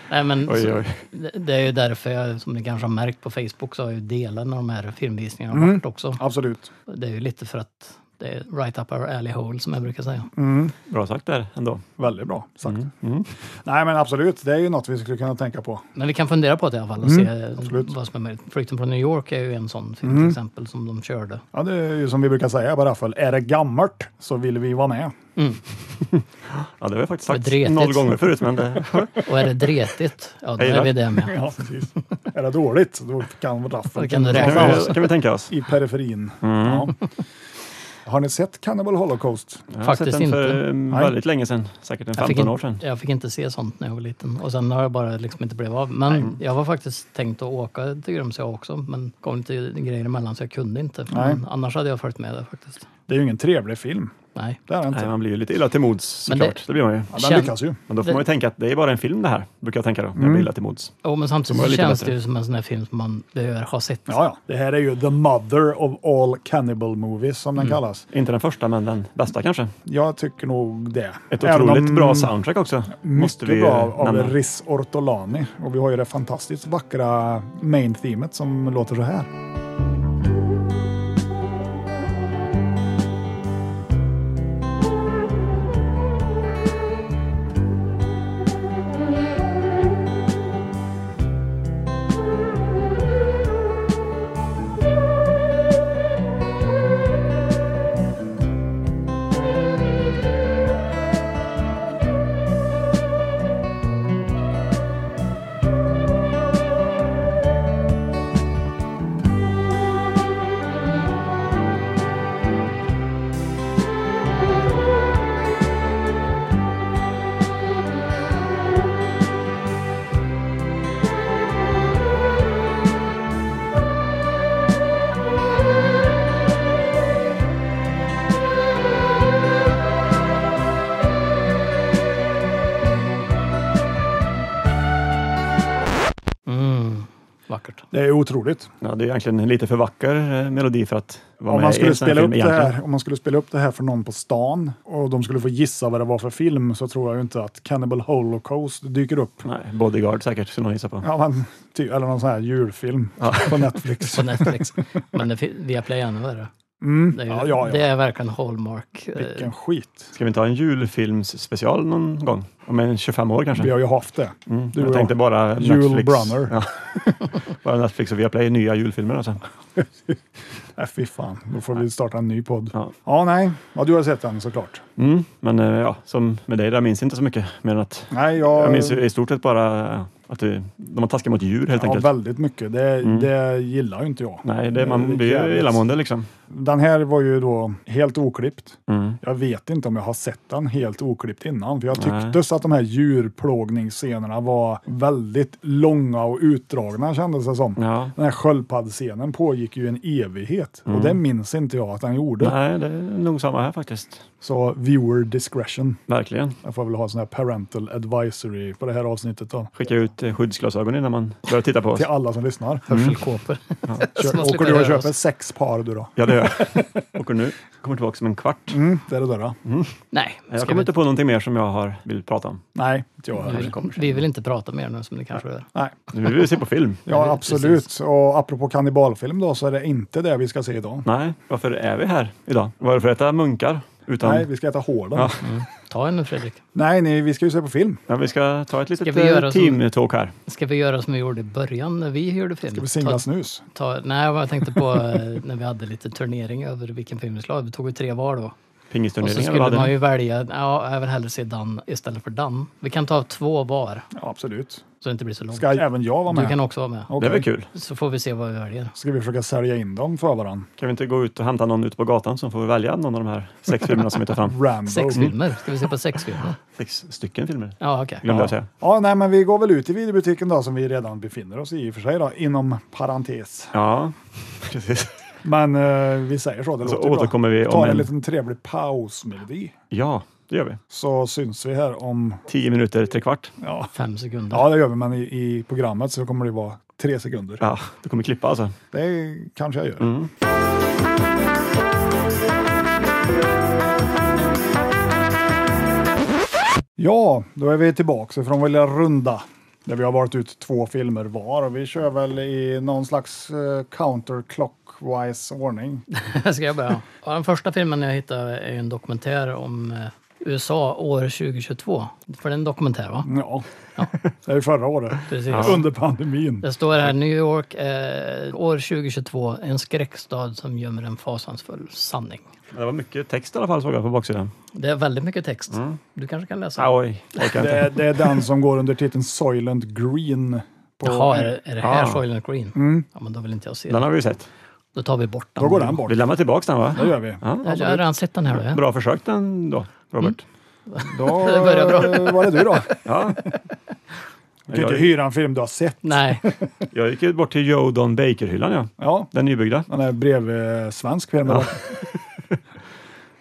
S2: Nej, men,
S4: Oj,
S2: så,
S4: oj.
S2: det- Det är ju därför jag, som ni kanske har märkt på Facebook, så har jag ju delen av de här filmvisningarna varit också.
S3: Absolut.
S2: Det är ju lite för att Det är right up our alley hole som jag brukar säga.
S4: Bra sagt där ändå.
S3: Mm. Väldigt bra sagt. Nej, men absolut, det är ju något vi skulle kunna tänka på.
S2: Men vi kan fundera på det i alla fall och se
S3: absolut.
S2: vad som är möjligt. Flykten från New York är ju en sån film till exempel som de körde.
S3: Ja, det är ju som vi brukar säga på Raffel, är det gammalt så vill vi vara med.
S4: Ja, det har jag faktiskt
S2: Vad
S4: sagt
S2: dretigt.
S4: noll gånger förut, men det,
S2: Och är det dretigt, ja då
S4: Jag gillar.
S2: är vi det med.
S3: Ja, precis. är det dåligt, då kan Raffel
S2: Då kan du räkna
S4: kan,
S2: med
S3: Ja.
S2: oss.
S4: vi, kan vi tänka oss.
S3: i periferin.
S4: Mm.
S3: Ja. Har ni sett Cannibal Holocaust?
S4: Jag har
S2: Faktiskt
S4: sett den för
S2: inte.
S4: eh,
S3: Nej.
S4: väldigt länge sedan, säkert en
S2: Jag fick,
S4: 15 år sedan.
S2: inte, jag fick inte se sånt när jag var liten och sen har jag bara liksom inte blivit av. Men jag var faktiskt tänkt att åka till Grumsö också, men kom lite grejer emellan så jag kunde inte. Men annars hade jag följt med det faktiskt.
S3: Det är ju ingen trevlig film.
S2: Nej.
S3: Det är det inte.
S4: Nej, man blir ju lite illa till mods
S2: Men det-
S4: såklart. Det... blir man ju.
S3: Ja, den
S2: Känn-
S3: lyckas ju.
S4: Men då får man ju tänka att det är bara en film det här, brukar jag tänka då, när jag blir illa till mods.
S2: Oh, men samtidigt
S4: De var
S2: så
S4: lite
S2: känns
S4: bättre.
S2: det ju som en sån här film som man behöver ha sett.
S3: Ja, ja. Det här är ju the mother of all cannibal movies som
S4: Mm.
S3: den kallas.
S4: Inte den första, men den bästa kanske.
S3: Jag tycker nog det.
S4: Ett
S3: Även
S4: otroligt
S3: om
S4: bra soundtrack också. Måste
S3: Mycket
S4: vi
S3: bra
S4: eh,
S3: av
S4: nämna.
S3: Riz Ortolani. Och vi har ju det fantastiskt vackra main themet som låter så här.
S2: Mm, vackert.
S3: Det är otroligt.
S4: Ja, det är egentligen en lite för vacker eh, melodi för att vara
S3: Om
S4: med
S3: man,
S4: i
S3: skulle
S4: en sån här
S3: spela upp
S4: film
S3: det
S4: egentligen.
S3: här, om man skulle spela upp det här för någon på stan och de skulle få gissa vad det var för film så tror jag ju inte att Cannibal Holocaust dyker upp.
S4: Nej, Bodyguard säkert, skulle någon gissa på.
S3: Ja, men, ty, eller någon sån här julfilm på Netflix. Mm.
S2: På Netflix. men det, fi- Viaplay är ännu värre. Det är, ju,
S3: Ja, ja, ja.
S2: det är verkligen Hallmark. eh,
S3: Vilken Mm. skit.
S4: Ska vi inte ha en julfilmsspecial någon gång? Om en 25 år kanske?
S3: Vi har ju haft det.
S4: Mm,
S3: Du och
S4: jag tänkte bara
S3: Jule
S4: Netflix.
S3: Brunner.
S4: Ja. bara Netflix och Viaplay, nya julfilmer alltså.
S3: Nej, Äh, fy fan. Då får vi starta en ny podd. Ja,
S4: Ja.
S3: nej. Ja, du har sett den såklart.
S4: Mm, men eh, ja, som med dig, där minns jag inte så mycket. Men att
S3: Nej, jag...
S4: jag minns ju i stort sett bara eh, att du, de har taskiga mot djur helt
S3: Ja,
S4: enkelt. Mm.
S3: väldigt mycket. Det, det gillar ju inte jag.
S4: Nej, det, man blir ju
S3: jävligt.
S4: illamående liksom.
S3: Den här var ju då helt oklippt.
S4: Mm.
S3: Jag vet inte om jag har sett den helt oklippt innan, för jag
S4: Nej.
S3: tycktes att de här djurplågningsscenerna var väldigt långa och utdragna kändes det som.
S4: Ja.
S3: Den här sköldpaddscenen pågick ju en evighet och det minns inte jag att den gjorde.
S4: Nej, det är nog samma här faktiskt.
S3: Så viewer discretion.
S4: Verkligen.
S3: Jag får väl ha en sån här parental advisory på det här avsnittet då.
S4: Skicka ut eh, skyddsglasögon innan man börjar titta på oss.
S3: Till alla som lyssnar.
S2: Hörselkåpor. Så
S3: Kör,
S2: man slipper
S3: åker du och
S2: höra
S3: köper
S2: oss.
S3: sex par du då?
S4: Ja, det gör jag. Åker nu. Kommer tillbaka om en kvart.
S3: Det är det där då.
S2: Nej,
S4: Jag
S2: ska
S4: kommer
S2: vi-
S4: inte på någonting mer som jag har vill prata om.
S3: Nej, inte jag
S2: vi,
S3: heller.
S2: vi vill inte prata mer nu som ni kanske gör.
S3: Nej.
S4: Nu vill vi se på film.
S3: Ja, absolut. Och apropå kannibalfilm då, så är det inte det vi ska se idag.
S4: Nej, varför är vi här idag? Vad är det för att äta munkar? Utan...
S3: Nej, vi ska äta hålen.
S4: Ja.
S2: Ta en nu Fredrik.
S3: Nej, nej, vi ska ju se på film.
S4: Ja, vi ska ta ett litet
S2: vi göra
S4: eh,
S2: som-
S4: teamtalk här.
S2: Ska vi göra som vi gjorde i början när vi gjorde film?
S3: Ska vi
S2: Ta-
S3: singla snus?
S2: ta, nej, jag tänkte på eh, när vi hade lite turnering över vilken film vi skulle ha. Vi tog ju tre var då. Och så
S4: Pingisturneringar.
S2: skulle
S4: vad hade
S2: man
S4: ni?
S2: ju välja, ja, jag vill hellre se Dan istället för Dan. Vi kan ta två var,
S3: Ja, absolut.
S2: så det inte blir så långt.
S3: Ska även jag vara med?
S2: du kan också vara med.
S4: Det
S3: Okej.
S4: är väl kul.
S2: Så får vi se vad vi väljer.
S3: Ska vi försöka sälja in dem för varandra?
S4: Kan vi inte gå ut och hämta någon ute på gatan som får välja någon av de här sex filmerna som vi tar fram?
S3: Rambo. Mm.
S2: Sex filmer? Ska vi se på sex filmer?
S4: Sex stycken filmer
S2: Ja, okej.
S4: glömde jag säga.
S3: Ja, nej, men vi går väl ut i videobutiken då, som vi redan befinner oss i i och för sig då, inom parentes.
S4: Ja, precis.
S3: Men eh, vi säger så, det låter ju
S4: Så Alltså, återkommer
S3: bra.
S4: vi om
S3: Ta en
S4: en-
S3: liten trevlig pausmelodi,
S4: Ja, det gör vi.
S3: så syns vi här om...
S4: Tio minuter, tre kvart.
S3: Ja,
S2: Fem sekunder.
S3: ja det gör vi, men i, i programmet så kommer det vara tre sekunder.
S4: Ja, du kommer klippa alltså.
S3: Det kanske jag gör.
S2: Mm.
S3: Ja, då är vi tillbaka från vår lilla runda. Där vi har varit ut två filmer var och vi kör väl i någon slags eh, counterclockwise ordning.
S2: Ska jag börja? Ja, den första filmen jag hittade är ju en dokumentär om eh, USA år 2022. För det är en dokumentär va?
S3: Ja, det är ju förra året.
S2: Precis.
S3: Under pandemin.
S2: Det står här New York eh, år 2022, en skräckstad som gömmer en fasansfull sanning.
S4: Men det var mycket text i alla fall såg jag på baksidan.
S2: Det är väldigt mycket text.
S3: Mm.
S2: Du kanske kan läsa?
S4: Ah, oj, jag orkar
S3: Det
S4: inte.
S3: är, det är den som går under titeln Soylent Green. På,
S2: Jaha, är, det- är det här
S4: Ah.
S2: Soylent Green? Ja, men då vill inte jag se
S4: Den
S2: den.
S4: har vi ju sett.
S2: Då tar vi bort den.
S3: Mm. Då går den bort.
S4: Vi lämnar tillbaks den va?
S3: Det gör vi.
S4: Ja,
S2: Jag jag har redan sett den här då. ja.
S4: Bra försök den då, Robert.
S3: Då
S2: Det börjar bra.
S3: eh, var det du då.
S4: Ja.
S3: Du kan inte
S4: Jag,
S3: hyra en film du har sett.
S2: Nej,
S4: jag gick ju bort till Joe Don Baker-hyllan, ja.
S3: Ja,
S4: den nybyggda.
S3: den är bredvid svensk film. eller?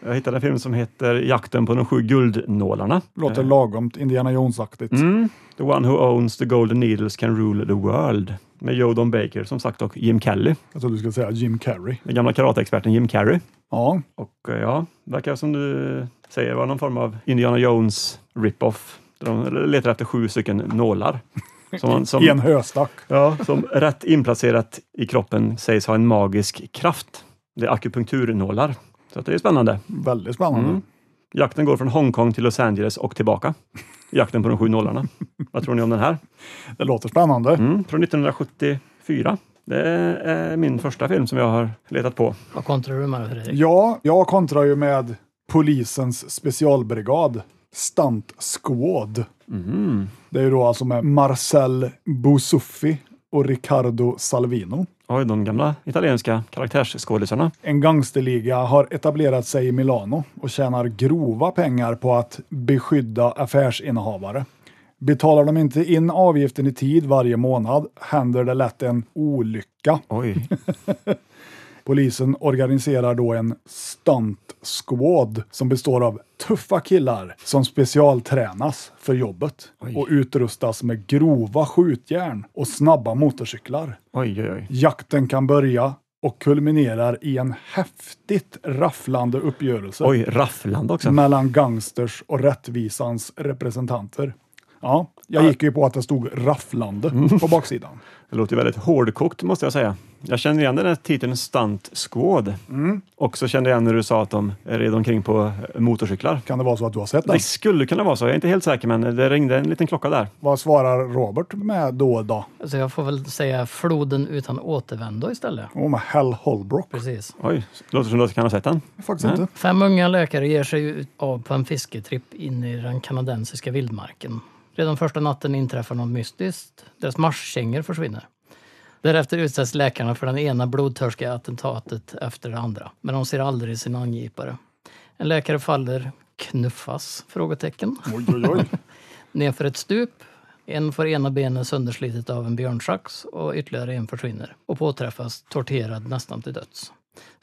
S4: Jag hittade en film som heter Jakten på de sju guldnålarna.
S3: Låter lagomt Indiana Jones-aktigt.
S4: Mm. The one who owns the golden needles can rule the world. Med Joe Don Baker som sagt och Jim Kelly,
S3: Jag trodde du skulle säga Jim Carrey.
S4: den gamla karateexperten Jim Carrey.
S3: Ja,
S4: Och eh, ja, verkar som du säger vara någon form av Indiana Jones rip-off. Där De letar efter sju stycken nålar. Som, man- som,
S3: i en höstack.
S4: Ja, som rätt inplacerat i kroppen sägs ha en magisk kraft. Det är akupunkturnålar. Så att det är spännande.
S3: Väldigt spännande.
S4: Mm. Jakten går från Hongkong till Los Angeles och tillbaka. Jakten på de sju nålarna. Vad tror ni om den här?
S3: Det låter spännande.
S4: Mm, från 1974. Det är min första film som jag har letat på.
S2: vad kontrar du med Fredrik?
S3: Ja, jag kontrar ju med polisens specialbrigad, Stunt Squad.
S4: Mm.
S3: Det är ju då alltså med Marcel Bousuffi och Riccardo Salvino.
S4: Oj, de gamla italienska karaktärsskådisarna.
S3: En gangsterliga har etablerat sig i Milano och tjänar grova pengar på att beskydda affärsinnehavare. Betalar de inte in avgiften i tid varje månad händer det lätt en olycka.
S4: Oj.
S3: Polisen organiserar då en stunt squad som består av tuffa killar som specialtränas för jobbet och utrustas med grova skjutjärn och snabba motorcyklar.
S4: Oj, oj, oj.
S3: Jakten kan börja och kulminerar i en häftigt rafflande uppgörelse
S4: Oj, rafflande också.
S3: mellan gangsters och rättvisans representanter. Ja, Mm. jag gick ju på att det stod rafflande på baksidan.
S4: Det låter ju väldigt hårdkokt måste jag säga. Jag känner igen den här titeln Stunt Squad.
S3: Mm.
S4: Och så kände jag igen när du sa att de red omkring på motorcyklar.
S3: Kan det vara så att du har sett den?
S4: Det skulle kunna vara så, jag är inte helt säker men det ringde en liten klocka där.
S3: Vad svarar Robert med då då?
S2: Alltså jag får väl säga floden utan återvändo istället.
S3: Oh, med Hell Holbrook.
S2: Precis.
S4: Oj, det låter som du kan ha sett den.
S3: Faktiskt
S4: Nej.
S3: inte.
S2: Fem unga läkare ger sig ut av på en fisketripp in i den kanadensiska vildmarken. Redan första natten inträffar något mystiskt. Deras marschkängor försvinner. Därefter utsätts läkarna för den ena blodtörstiga attentatet efter det andra. Men de ser aldrig sin angipare. En läkare faller, knuffas? Frågetecken.
S3: Oj, oj, oj.
S2: Nedför ett stup. En får ena benet sönderslitet av en björnsax och ytterligare en försvinner och påträffas torterad nästan till döds.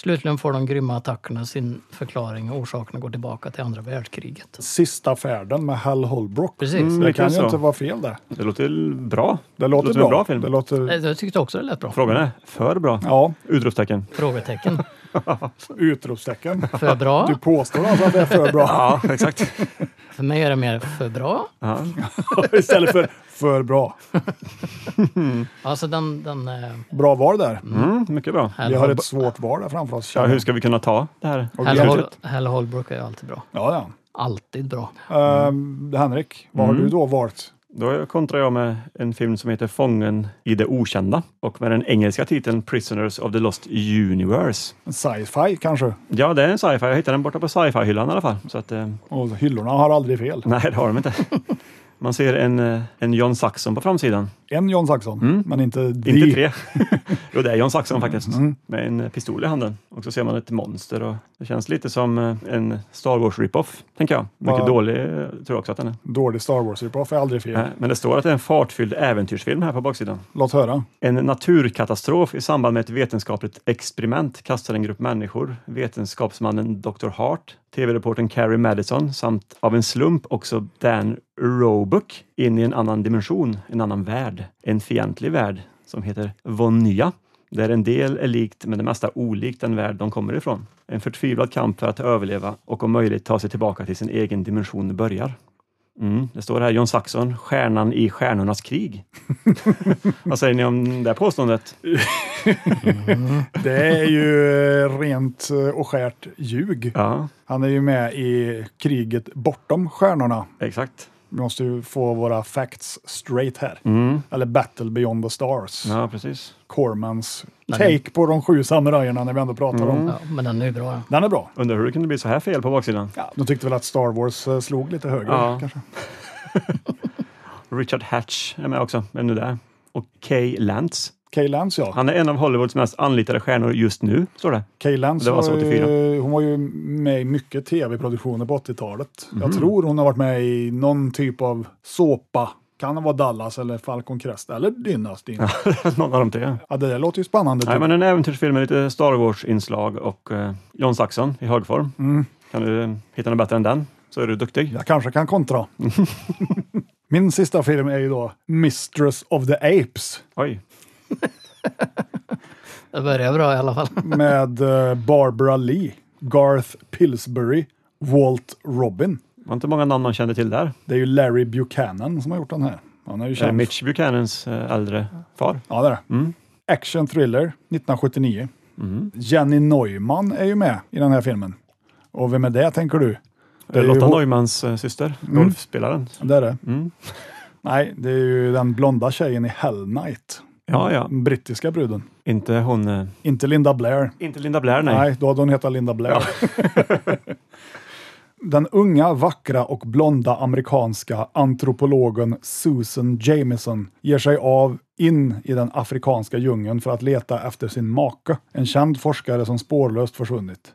S2: Slutligen får de grymma attackerna sin förklaring och orsakerna går tillbaka till andra världskriget.
S3: Sista färden med Hal Holbrook.
S2: Precis. Mm,
S3: det
S4: lite
S3: kan ju
S4: så.
S3: inte vara fel det.
S4: Det låter bra.
S3: Det låter,
S4: som
S3: bra.
S4: en bra film.
S3: Det låter,
S2: Eh, Jag tyckte också det lät bra.
S4: Frågan är, för bra?
S3: ja,
S4: Utropstecken.
S2: Frågetecken.
S3: utropstecken.
S2: För
S3: Du
S2: bra?
S3: påstår alltså att det är för bra
S4: Ja, exakt.
S2: För mig är det mer för bra.
S4: Ja.
S3: istället för för bra.
S2: Alltså den... den eh,
S3: Bra val där.
S4: Mm, mycket bra.
S2: Hal
S3: Vi har
S2: Holb-
S3: ett svårt val där framför oss.
S4: Ja,
S3: känner
S4: hur
S3: jag.
S4: ska vi kunna ta det här?
S3: Och
S2: Hal
S3: vi-
S2: Hol- Hal Holbrook är ju alltid bra.
S3: Ja, ja.
S2: Alltid bra.
S3: Ehm,
S4: Mm.
S3: Henrik, vad har du då valt?
S4: Då kontrar jag med en film som heter Fången i det okända och med den engelska titeln Prisoners of the Lost Universe.
S3: En Sci-fi kanske?
S4: Ja, det är en sci-fi. Jag hittade den borta på sci-fi-hyllan i alla fall. Så att, eh,
S3: Och hyllorna har aldrig fel.
S4: nej, det har de inte. Man ser en, eh, en John Saxon på framsidan.
S3: En John Saxon, men inte,
S4: Mm. Inte
S3: de.
S4: tre. jo, det är John Saxon faktiskt. Med en eh, pistol i handen. Och så ser man ett monster och det känns lite som eh, en Star Wars rip-off, tänker jag. Mycket
S3: Vad-
S4: dålig, eh, tror jag också att den är.
S3: Dålig Star Wars-rip-off är aldrig fel.
S4: Eh, Men det står att det är en fartfylld äventyrsfilm här på baksidan.
S3: Låt höra.
S4: En naturkatastrof i samband med ett vetenskapligt experiment kastar en grupp människor, vetenskapsmannen Dr. Hart, tv-reportern Carrie Madison samt av en slump också Dan Roebuck in i en annan dimension, en annan värld, en fientlig värld som heter Vonya där en del är likt men det mesta olikt den värld de kommer ifrån. En förtvivlad kamp för att överleva och om möjligt ta sig tillbaka till sin egen dimension börjar. Mm, det står här John Saxon, stjärnan i Stjärnornas krig. Vad säger ni om det här påståendet?
S3: Det är ju eh, rent eh, och skärt ljug.
S4: Ja,
S3: Han är ju med i kriget bortom stjärnorna.
S4: exakt.
S3: Vi måste ju få våra facts straight här.
S4: Mm.
S3: Eller Battle beyond the stars.
S4: Ja, precis.
S3: Cormans
S2: Nej,
S3: take på de sju samurajerna när vi ändå pratar
S4: Mm.
S3: om.
S2: Ja, men den är ju bra.
S3: Den är bra.
S4: Undrar hur det kunde bli så här fel på baksidan.
S3: Ja, de tyckte väl att Star Wars eh, slog lite högre.
S4: Ja.
S3: Kanske.
S4: Richard Hatch är med också. Vem nu det är. Och Kay Lantz.
S3: Kay Lance ja.
S4: Han är en av Hollywoods mest anlitade stjärnor just nu, står det.
S3: Kay Lance
S4: Det var alltså
S3: var
S4: 84.
S3: ju, hon var ju med i mycket tv-produktioner på 80-talet.
S4: Mhm.
S3: Jag tror hon har varit med i någon typ av såpa. Kan det vara Dallas eller Falcon Crest eller Dynastin? Ja.
S4: Någon av de tre.
S3: det där låter ju spännande.
S4: Nej,
S3: typ.
S4: men en äventyrsfilm med lite Star Wars-inslag och eh, John Saxon i högform.
S3: Mm.
S4: Kan du eh, hitta något bättre än den så är du duktig.
S3: Jag kanske kan kontra. Min sista film är ju då Mistress of the Apes
S4: Oj.
S2: Det börjar bra i alla fall.
S3: med eh, Barbara Lee, Garth Pillsbury, Walt Robin.
S4: Det var inte många namn man kände till där.
S3: Det är ju Larry Buchanan som har gjort den här. Han är ju
S4: Är det
S3: känd.
S4: Mitch Buchanans eh, äldre far?
S3: Ja, det är det.
S4: Mm.
S3: Action thriller 1979. Jenny Neumann är ju med i den här filmen. Och vem är det tänker du?
S4: Det är
S3: ju
S4: Lotta
S3: hon- Mm.
S4: Neumans eh, syster, golfspelaren.
S3: Det är det. Nej, det är ju den blonda tjejen i Hell Night.
S4: Ja, ja.
S3: Den brittiska bruden.
S4: Inte hon... eh,
S3: Inte Linda Blair.
S4: Inte Linda Blair, nej.
S3: Nej, då hade hon hetat Linda Blair. den unga, vackra och blonda amerikanska antropologen Susan Jamison ger sig av in i den afrikanska djungeln för att leta efter sin make, en känd forskare som spårlöst försvunnit.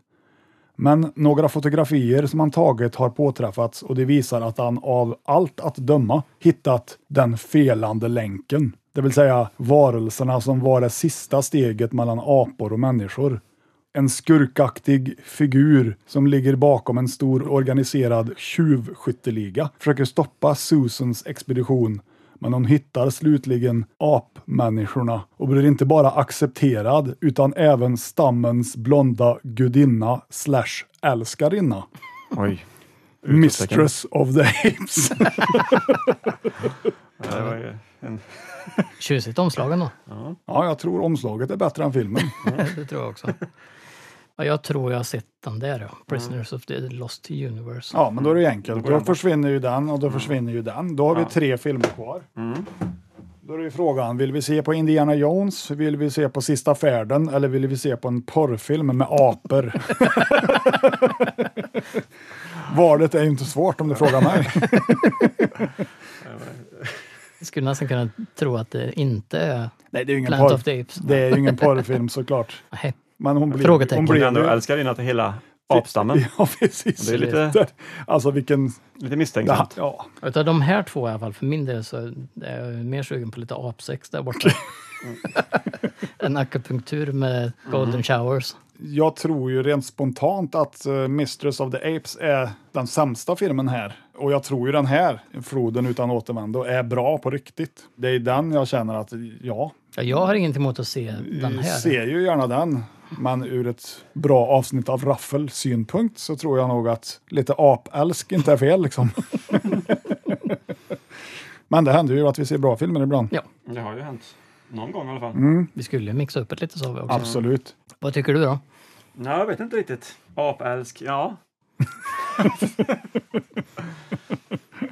S3: Men några fotografier som han tagit har påträffats och det visar att han av allt att döma hittat den felande länken. Det vill säga varelserna som var det sista steget mellan apor och människor. En skurkaktig figur som ligger bakom en stor organiserad tjuvskytteliga försöker stoppa Susans expedition men hon hittar slutligen apmänniskorna och blir inte bara accepterad utan även stammens blonda gudinna slash älskarinna.
S4: Oj. Utropstecken.
S3: Mistress of the Apes.
S4: Ja, det var ju en...
S2: Tjusigt omslag ändå.
S3: ja, jag tror omslaget är bättre än filmen.
S2: Det tror jag också. Ja, jag tror jag har sett den där, ja. Prisoners of the Lost Universe.
S3: Ja, men då är det ju enkelt. Då försvinner ju den och då försvinner ju den. Då har vi tre filmer kvar. Då är det ju frågan, vill vi se på Indiana Jones, vill vi se på Sista färden eller vill vi se på en porrfilm med apor? Valet är ju inte svårt om du frågar mig.
S2: Jag skulle nästan kunna tro att det inte är
S3: Nej, det är ju ingen,
S2: Planet
S3: porr,
S2: of the Apes.
S3: det är ju ingen porrfilm såklart.
S2: Nej.
S3: Men hon blir,
S2: Frågetecken.
S3: hon
S4: Hon
S3: blir
S4: är ändå
S3: ju-
S4: älskarinna till hela apstammen.
S3: Ja, precis.
S4: Det är lite,
S3: Alltså vilken...
S4: lite
S3: Ja,
S4: misstänksamt.
S3: ja.
S2: Utav de här två i alla fall, för min del så är jag mer sugen på lite apsex där borta. en akupunktur med golden showers.
S3: Jag tror ju rent spontant att eh, Mistress of the Apes är den sämsta filmen här. Och jag tror ju den här, Floden utan återvändo, är bra på riktigt. Det är den jag känner att, ja,
S2: Ja, jag har inget emot att se den här.
S3: ser ju gärna den. Men ur ett bra avsnitt av Raffel-synpunkt så tror jag nog att lite apälsk inte är fel liksom. men det händer ju att vi ser bra filmer ibland.
S2: Ja,
S4: Det har ju hänt. Någon gång i alla fall.
S2: vi skulle ju mixa upp det lite sa vi också.
S3: Absolut.
S2: Vad tycker du då?
S4: Nej, jag vet inte riktigt. Apälsk, ja.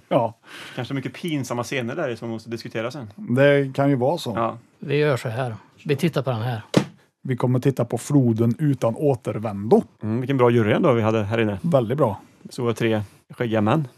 S3: Ja,
S4: Kanske mycket pinsamma scener där i som måste diskutera sen.
S3: det kan ju vara så.
S4: Ja.
S2: Vi gör så här. Vi tittar på den här.
S3: Vi kommer titta på Floden utan återvändo.
S4: Mm, vilken bra jury ändå vi hade här inne.
S3: Väldigt bra.
S4: Så var tre skäggiga män.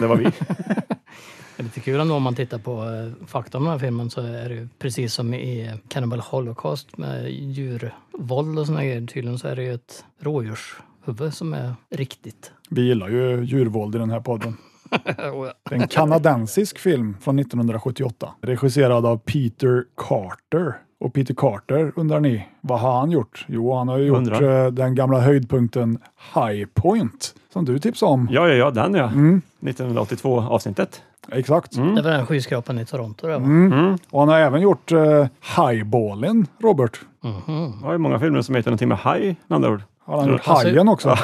S4: Det var vi.
S2: Det är lite kul ändå om man tittar på eh, fakta om den här filmen så är det ju precis som i eh, Cannibal Holocaust med djurvåld och såna grejer. Tydligen så är det ju ett rådjurshuvud som är riktigt.
S3: Vi gillar ju djurvåld i den här podden. Det är en kanadensisk film från 1978, regisserad av Peter Carter. Och Peter Carter, undrar ni, vad har han gjort? Jo, han har ju gjort
S4: Undrar.
S3: eh, den gamla höjdpunkten High Point, som du tipsade om.
S4: Ja, ja, ja, den ja. 1982 avsnittet.
S3: Exakt.
S4: Mm.
S2: Det var den skyskrapan i Toronto där va?
S3: Och han har även gjort eh, Highballen, Robert.
S4: Det var ju många filmer som heter någonting med haj, med andra ord.
S3: Har han gjort
S2: Alltså-
S3: Hajen också?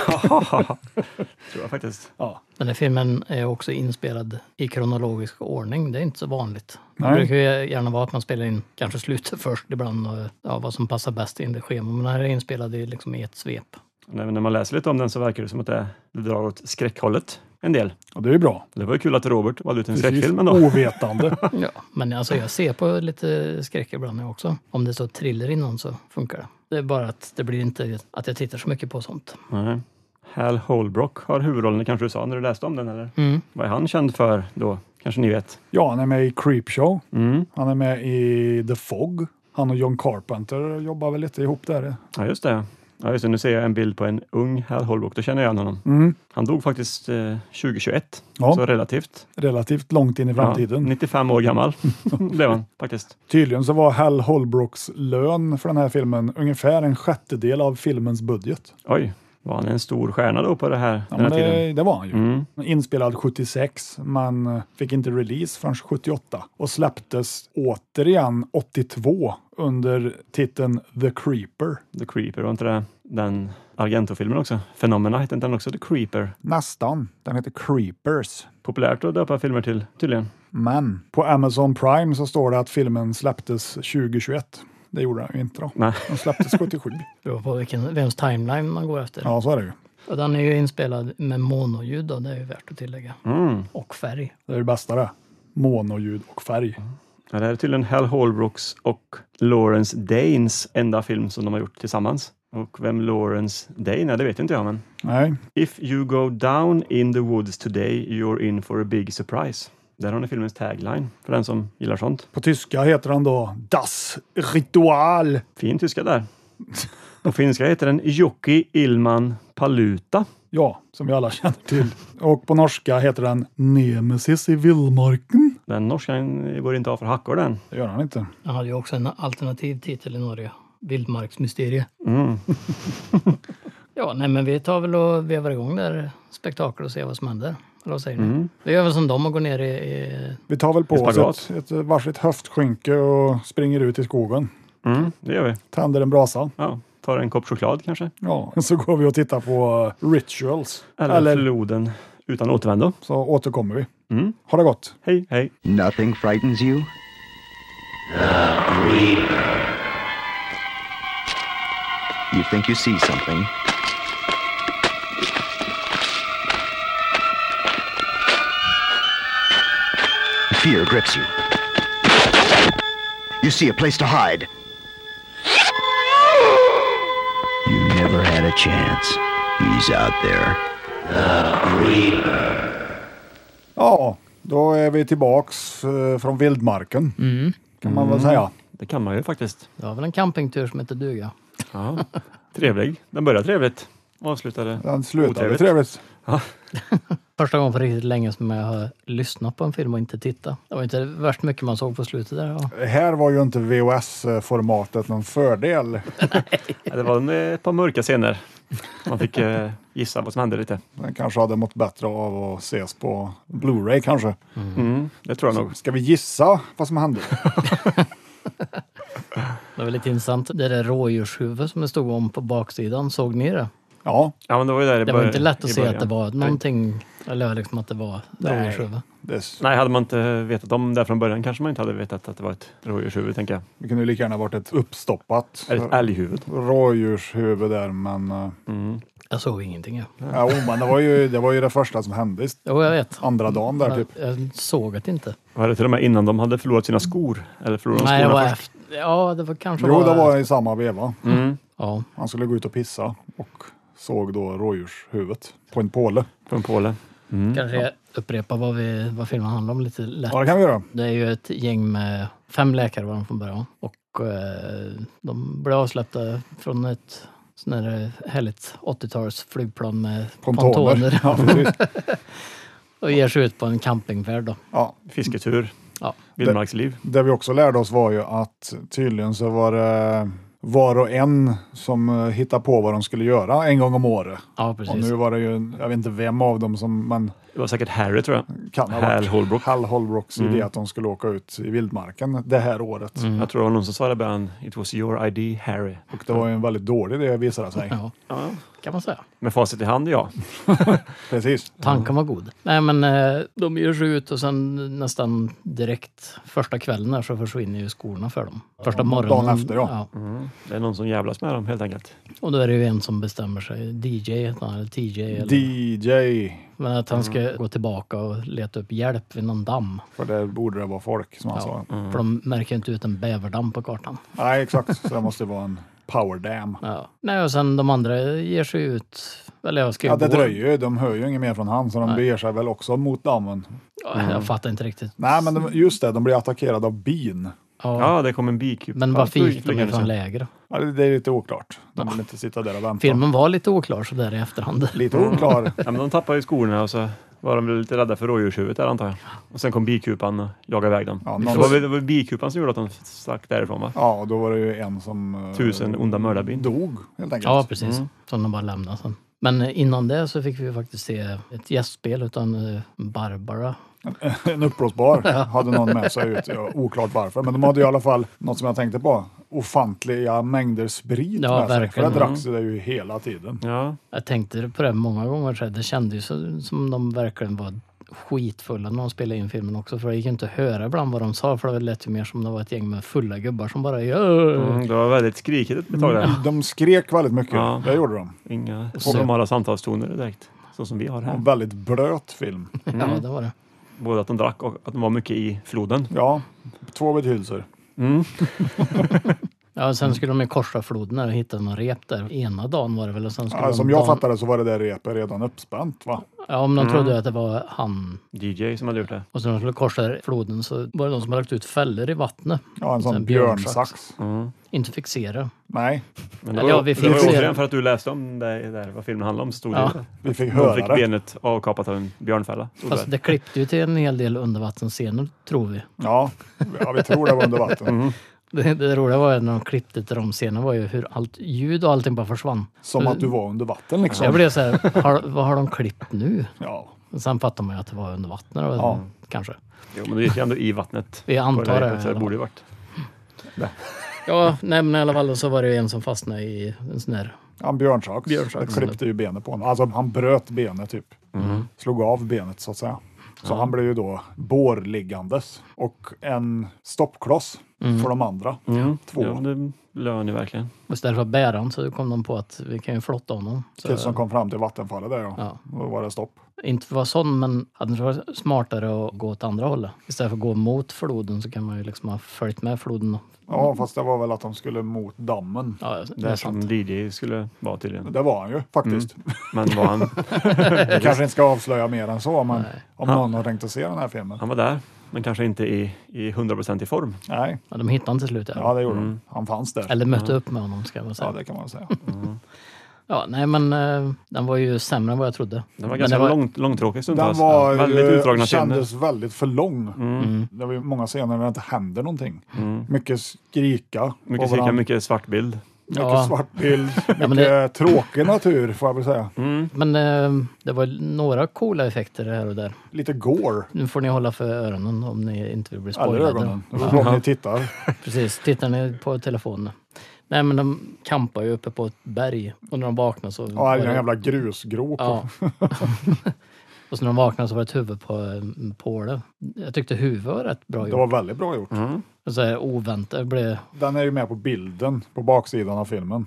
S4: Tror jag faktiskt.
S2: Den här filmen är också inspelad i kronologisk ordning. Det är inte så vanligt.
S3: Nej.
S2: Det brukar ju gärna vara att man spelar in kanske slutet först ibland och ja, vad som passar bäst in i schemat. Men den här är inspelad i, liksom, i ett svep.
S4: Nej, men när man läser lite om den så verkar det som att det, det drar åt skräckhållet en del.
S3: Ja, det är ju bra.
S4: Det var ju kul att Robert valde ut en
S3: Precis. Oh.
S4: skräckfilm ändå.
S3: Ovetande.
S2: Ja, men alltså jag ser på lite skräck ibland jag också. Om det står thriller innan så funkar det. Det är bara att det blir inte att jag tittar så mycket på sånt.
S4: Nej. Hal Holbrook har huvudrollen, det kanske du sa när du läste om den eller?
S2: Mm.
S4: Vad är han känd för då? Kanske ni vet?
S3: Ja, han är med i Creepshow.
S4: Mm.
S3: Han är med i The Fog. Han och John Carpenter jobbar väl lite ihop där.
S4: Ja, just det. Ja, just det. Nu ser jag en bild på en ung Hal Holbrook, då känner jag igen honom.
S3: Mm.
S4: Han dog faktiskt eh, 2021,
S3: Ja.
S4: så relativt.
S3: Relativt långt in i framtiden.
S4: Ja, 95 år gammal blev han faktiskt.
S3: Tydligen så var Hal Holbrooks lön för den här filmen ungefär en sjättedel av filmens budget.
S4: Oj, var han en stor stjärna då på det här,
S3: Ja,
S4: den här
S3: men
S4: tiden?
S3: det, det var han ju.
S4: Mm.
S3: Inspelad 76, men eh, fick inte release förrän 78 och släpptes återigen 82 under titeln The Creeper.
S4: The Creeper, var inte det den Argento-filmen också? Phenomena hette inte den också The Creeper?
S3: Nästan. Den heter Creepers.
S4: Populärt att döpa filmer till tydligen.
S3: Men på Amazon Prime så står det att filmen släpptes 2021. Det gjorde den ju inte då.
S4: Nej.
S3: Den släpptes 77.
S2: Det beror på vilken, vems timeline man går efter.
S3: Ja, så är det ju.
S2: Och den är ju inspelad med monoljud då, det är ju värt att tillägga.
S4: Mm.
S2: Och färg.
S3: Det är det bästa det. Monoljud och färg.
S4: Ja, det här är tydligen Hal Holbrooks och Lawrence Danes enda film som de har gjort tillsammans. Och vem Lawrence Dane är, det vet inte jag, men
S3: Nej,
S4: If you go down in the woods today you're in for a big surprise. Där har ni filmens tagline, för den som gillar sånt.
S3: på tyska heter den då Das Ritual.
S4: Fin tyska där. På finska heter den Jocki Ilman Paluta.
S3: Ja, som vi alla känner till. Och på norska heter den Nemesis i vildmarken.
S4: Den norskan går inte av för hackor den.
S3: Det gör han inte.
S2: Den hade ju också en alternativ titel i Norge. Vildmarksmysterie.
S4: Mm.
S2: Ja, nej men vi tar väl och vevar igång där spektakel och ser vad som händer. Eller vad säger ni?
S4: Mm.
S2: Vi gör väl som dem och går ner i... i
S3: Vi tar väl på
S4: I spagat.
S3: oss ett, ett varsitt höftskynke och springer ut i skogen.
S4: Mm, det gör vi.
S3: Tänder en brasa.
S4: Ja, tar en kopp choklad kanske.
S3: Ja, så går vi och tittar på eh, Rituals.
S4: Eller,
S3: Eller-
S4: floden utan återvändo.
S3: Så återkommer vi.
S4: Mm.
S3: Ha det gott!
S4: Hej, hej.
S5: Nothing frightens you?
S9: You think you see something. Fear grips you. You see a place to hide. You never had a chance. He's out there.
S3: Ja, då är vi tillbaks eh, från vildmarken.
S4: Mm.
S3: Kan man väl säga.
S4: Det kan man ju faktiskt.
S2: det var väl en campingtur som heter duga.
S4: Ja. Trevlig. Den började trevligt. Avslutade.
S3: Den slutade
S4: Otrevligt.
S3: trevligt.
S2: Första gången på riktigt länge som jag har lyssnat på en film och inte tittat. Det var inte värst mycket man såg på slutet där. Ja.
S3: Här var ju inte VHS-formatet någon fördel.
S4: Ja, Det var en, eh, ett par mörka scener. Man fick eh, gissa vad som hände lite.
S3: Den kanske hade mått bättre av att ses på Blu-ray kanske.
S4: Mm, det tror jag nog.
S3: Ska vi gissa vad som hände?
S2: Det var lite intressant. Det där rådjurshuvud som det stod om på baksidan, såg ni det?
S3: Ja,
S4: Ja, men det var ju där i
S2: Det var
S4: bör-
S2: inte lätt att
S4: i
S2: se
S4: början.
S2: att det var någonting, eller liksom att det var
S3: Nej.
S2: rådjurshuvud.
S3: det, s-
S4: Nej, hade man inte vetat om det från början kanske man inte hade vetat att det var ett rådjurshuvud, tänker jag.
S3: det kunde ju lika gärna varit ett uppstoppat
S4: Eller ett älghuvud.
S3: rådjurshuvud där. Men, eh,
S4: Mm.
S2: Jag såg ingenting. Ja.
S3: ja, oh, men det, var ju, det var ju det första som hände.
S2: Jo, jag vet.
S3: Andra dagen där
S2: Men
S3: typ.
S2: Jag såg det inte.
S4: Var det till och med innan de hade förlorat sina skor? Eller förlorat
S2: Nej, det
S4: skorna
S2: var
S4: först?
S2: efter. Ja, det var kanske
S3: Jo, det var i samma veva.
S4: Mm.
S2: Ja,
S3: Han skulle gå ut och pissa och såg då rådjurshuvudet på en påle.
S4: På en påle. Mm.
S2: kanske jag upprepa vad, vi, vad filmen handlar om lite lätt.
S3: Ja, det kan vi göra.
S2: Det är ju ett gäng med fem läkare var de från början. Och eh, de blev avsläppta från ett sån här eh, härligt 80-tals flygplan med
S3: Pontoner.
S2: pontoner.
S3: Ja, precis.
S2: och ger sig ut på en campingfärd då.
S3: Ja,
S4: Fisketur.
S2: Ja.
S4: Vildmarksliv.
S3: det vi också lärde oss var ju att tydligen så var det var och en som eh, hittade på vad de skulle göra en gång om året.
S2: Ja,
S3: Och
S2: precis.
S3: nu var det ju, jag vet inte vem av dem som, men
S4: Det var säkert Harry tror jag.
S2: Mm.
S3: Kan ha
S4: Hal
S3: varit
S4: Holbrook.
S3: Hal Holbrooks idé att de skulle åka ut i vildmarken det här året.
S2: Mm.
S4: Jag tror det var någon som sa det i början. It was your ID Harry.
S3: Och det var ju en väldigt dålig idé visade sig.
S2: Ja, kan man säga.
S4: Med facit i hand ja.
S3: Precis.
S2: Tanken var god. Nej, men eh, de ger sig ut och sen nästan direkt första kvällen här så försvinner ju skorna för dem. Första
S3: dagen
S2: morgonen.
S3: efter, ja.
S4: Det är någon som jävlas med dem helt enkelt.
S2: Och då är det ju en som bestämmer sig, DJ heter han, eller TJ, eller,
S3: DJ.
S2: men att han ska gå tillbaka och leta upp hjälp vid någon damm.
S3: För där borde det vara folk som han
S2: Ja,
S3: sa.
S2: alltså. För de märker ju inte ut en bäverdamm på kartan.
S3: Nej, exakt. Så det måste vara en power dam.
S2: Ja. Nej, och sen de andra ger sig ut. Eller jag ska ju
S3: Ja, det
S2: gå.
S3: dröjer ju. De hör ju inget mer från han, så de beger sig väl också mot dammen.
S2: Ja, Jag fattar inte riktigt.
S3: Nej, men de, just det, de blir attackerade av bin.
S2: Ja.
S4: Ja, det kom en bikupa.
S2: Men varför gick de liksom
S4: flygande
S2: ifrån
S4: sen.
S2: läger?
S3: Ja, det, det är lite oklart. De vill inte sitta där och vänta.
S2: Ah. Filmen Mm. var lite oklar så där i efterhand.
S3: Lite oklar.
S4: Ja, men de tappade ju skorna och så var de väl lite rädda för rådjurshuvudet där antar jag. Och sen kom bikupan och jagade iväg dem.
S3: Ja,
S4: det,
S3: någon-
S4: var, väl- det var bikupan som gjorde att de stack därifrån va?
S3: Ja, och då var det ju en som eh,
S4: Tusen onda mördarbin.
S3: dog helt enkelt.
S2: Ja, precis. Som de bara lämnade sen. Men innan det så fick vi ju faktiskt se ett gästspel utan eh, Barbara.
S3: En uppblåsbar hade någon med sig ut. Ja, oklart varför, men de hade i alla fall något som jag tänkte på. Ofantliga mängder sprit
S2: Ja,
S3: med sig. För det
S2: verkligen. Mm.
S3: dracks det ju hela tiden.
S4: Ja,
S2: Jag tänkte på det många gånger, så här, det kändes ju så- som de verkligen var skitfulla när de spelade in filmen också. För det gick ju inte att höra ibland vad de sa, för det lät ju mer som det var ett gäng med fulla gubbar som bara "Jööö".
S4: mm, det var väldigt skrikigt ett tag
S2: Mm.
S4: där.
S3: De skrek väldigt mycket,
S4: Ja.
S3: det gjorde de.
S4: Inga normala samtalstoner direkt. Så som vi har här.
S3: En väldigt blöt film.
S2: Ja, det var det.
S4: Både att de drack och att de var mycket i floden.
S3: Ja, två betydelser.
S2: Ja, sen skulle de ju korsa floden där och hitta någon rep där. Ena dagen var det väl och sen skulle
S3: Ja,
S2: de
S3: som jag Mm.
S2: dagen...
S3: fattade så var det där repet redan uppspänt va?
S2: Ja, men de trodde ju att det var han.
S4: DJ som hade gjort det.
S2: Och sen när de skulle korsa floden så var det någon som hade lagt ut fällor i vattnet.
S3: Ja, en
S2: Så
S3: sån
S2: en björnsax.
S3: björnsax.
S2: Inte fixera.
S3: Nej,
S4: Men det
S2: Ja,
S4: var,
S2: vi
S4: det
S2: fick
S4: var
S2: se-
S4: återigen för att du läste om det där, vad filmen handlade om. Stod
S2: Ja.
S4: det.
S3: vi fick
S4: De fick
S3: höra det.
S4: benet avkapat av en björnfälla.
S2: Fast
S4: stod det.
S2: Alltså, det klippte ju till en hel del undervattensscener, tror vi.
S3: Ja, ja, vi tror det var under
S4: Mm.
S3: vatten.
S2: Det, det roliga var ju när de klippte till de scenerna var ju hur allt ljud och allting bara försvann.
S3: Som att du var under vatten
S2: Jag
S3: liksom.
S2: blev så här, har, vad har de klippt nu?
S3: Ja,
S2: Sen fattar man ju att det var under vattnet då,
S3: Ja.
S2: kanske.
S4: Jo, men det gick ju ändå i vattnet.
S2: Vi antar
S4: På det,
S2: det,
S4: där repet, så
S2: eller
S4: det borde ju varit.
S2: Ja, nej men i alla fall så var det ju en som fastnade i en sån där.
S3: Ja, en björnsax.
S2: Björnsax.
S3: Det klippte ju benet på honom. Alltså han bröt benet typ.
S4: Mm.
S3: Slog av benet så att säga. Så han blev ju då bårliggandes och en stoppkloss för de andra. Två.
S4: Mm. Ja, men det lön ju verkligen.
S2: Och istället för bäran så kom de på att vi kan ju flotta honom. Så,
S3: Tills de kom fram till vattenfallet där ja.
S2: Ja.
S3: Då var det stopp.
S2: inte för att vara sån, men hade det varit smartare att gå åt andra hållet. Istället för att gå mot floden så kan man ju liksom ha följt med floden.
S4: Mm.
S3: Ja, fast det var väl att de skulle mot dammen.
S2: Ja, det
S4: Det
S2: är
S4: är
S2: sant.
S4: som DJ skulle vara tydligen.
S3: Det var han ju faktiskt.
S4: Men var han,
S3: Vi kanske inte ska avslöja mer än så, men om någon har tänkt att se den här filmen.
S4: han var där, men kanske inte i, i 100% i form.
S3: Nej,
S2: Ja, de hittade han till slut.
S3: ja
S2: Ja.
S3: det gjorde han. Han fanns där.
S2: Eller mötte upp med honom ska jag väl säga.
S3: Ja, det kan man säga.
S2: Ja, nej men eh, den var ju sämre än vad jag trodde.
S4: Den var
S2: Men
S4: ganska
S2: det var-
S4: lång, långtråkig
S3: Den
S4: stundtals.
S3: var,
S4: alltså. Ja, väldigt
S3: ju-
S4: utdragna scener.
S3: kändes väldigt för lång. Mm. Det var ju många scener när det inte händer någonting. Mycket skrika.
S4: Mycket
S3: på
S4: cirka,
S3: varandra.
S4: mycket svart bild.
S3: mycket
S2: Ja.
S3: svart bild. Mycket
S2: men det-
S3: tråkig natur får jag väl säga.
S2: Men eh, det var några coola effekter här och där.
S3: Lite gore.
S2: Nu får ni hålla för öronen om ni inte vill bli
S3: Eller
S2: spoilade.
S3: ögonen. Det beror på om ni tittar.
S2: Precis, tittar ni på telefonen. Nej men de kampar ju uppe på ett berg och när de vaknar så...
S3: Ja, det är en jävla grusgrop.
S2: Ja. och så när de vaknar så var det ett huvud på en påle. Jag tyckte huvudet var rätt bra
S3: Det
S2: gjort.
S3: var väldigt bra gjort.
S2: Så här, oväntat, det blev...
S3: Den är ju med på bilden på baksidan av filmen.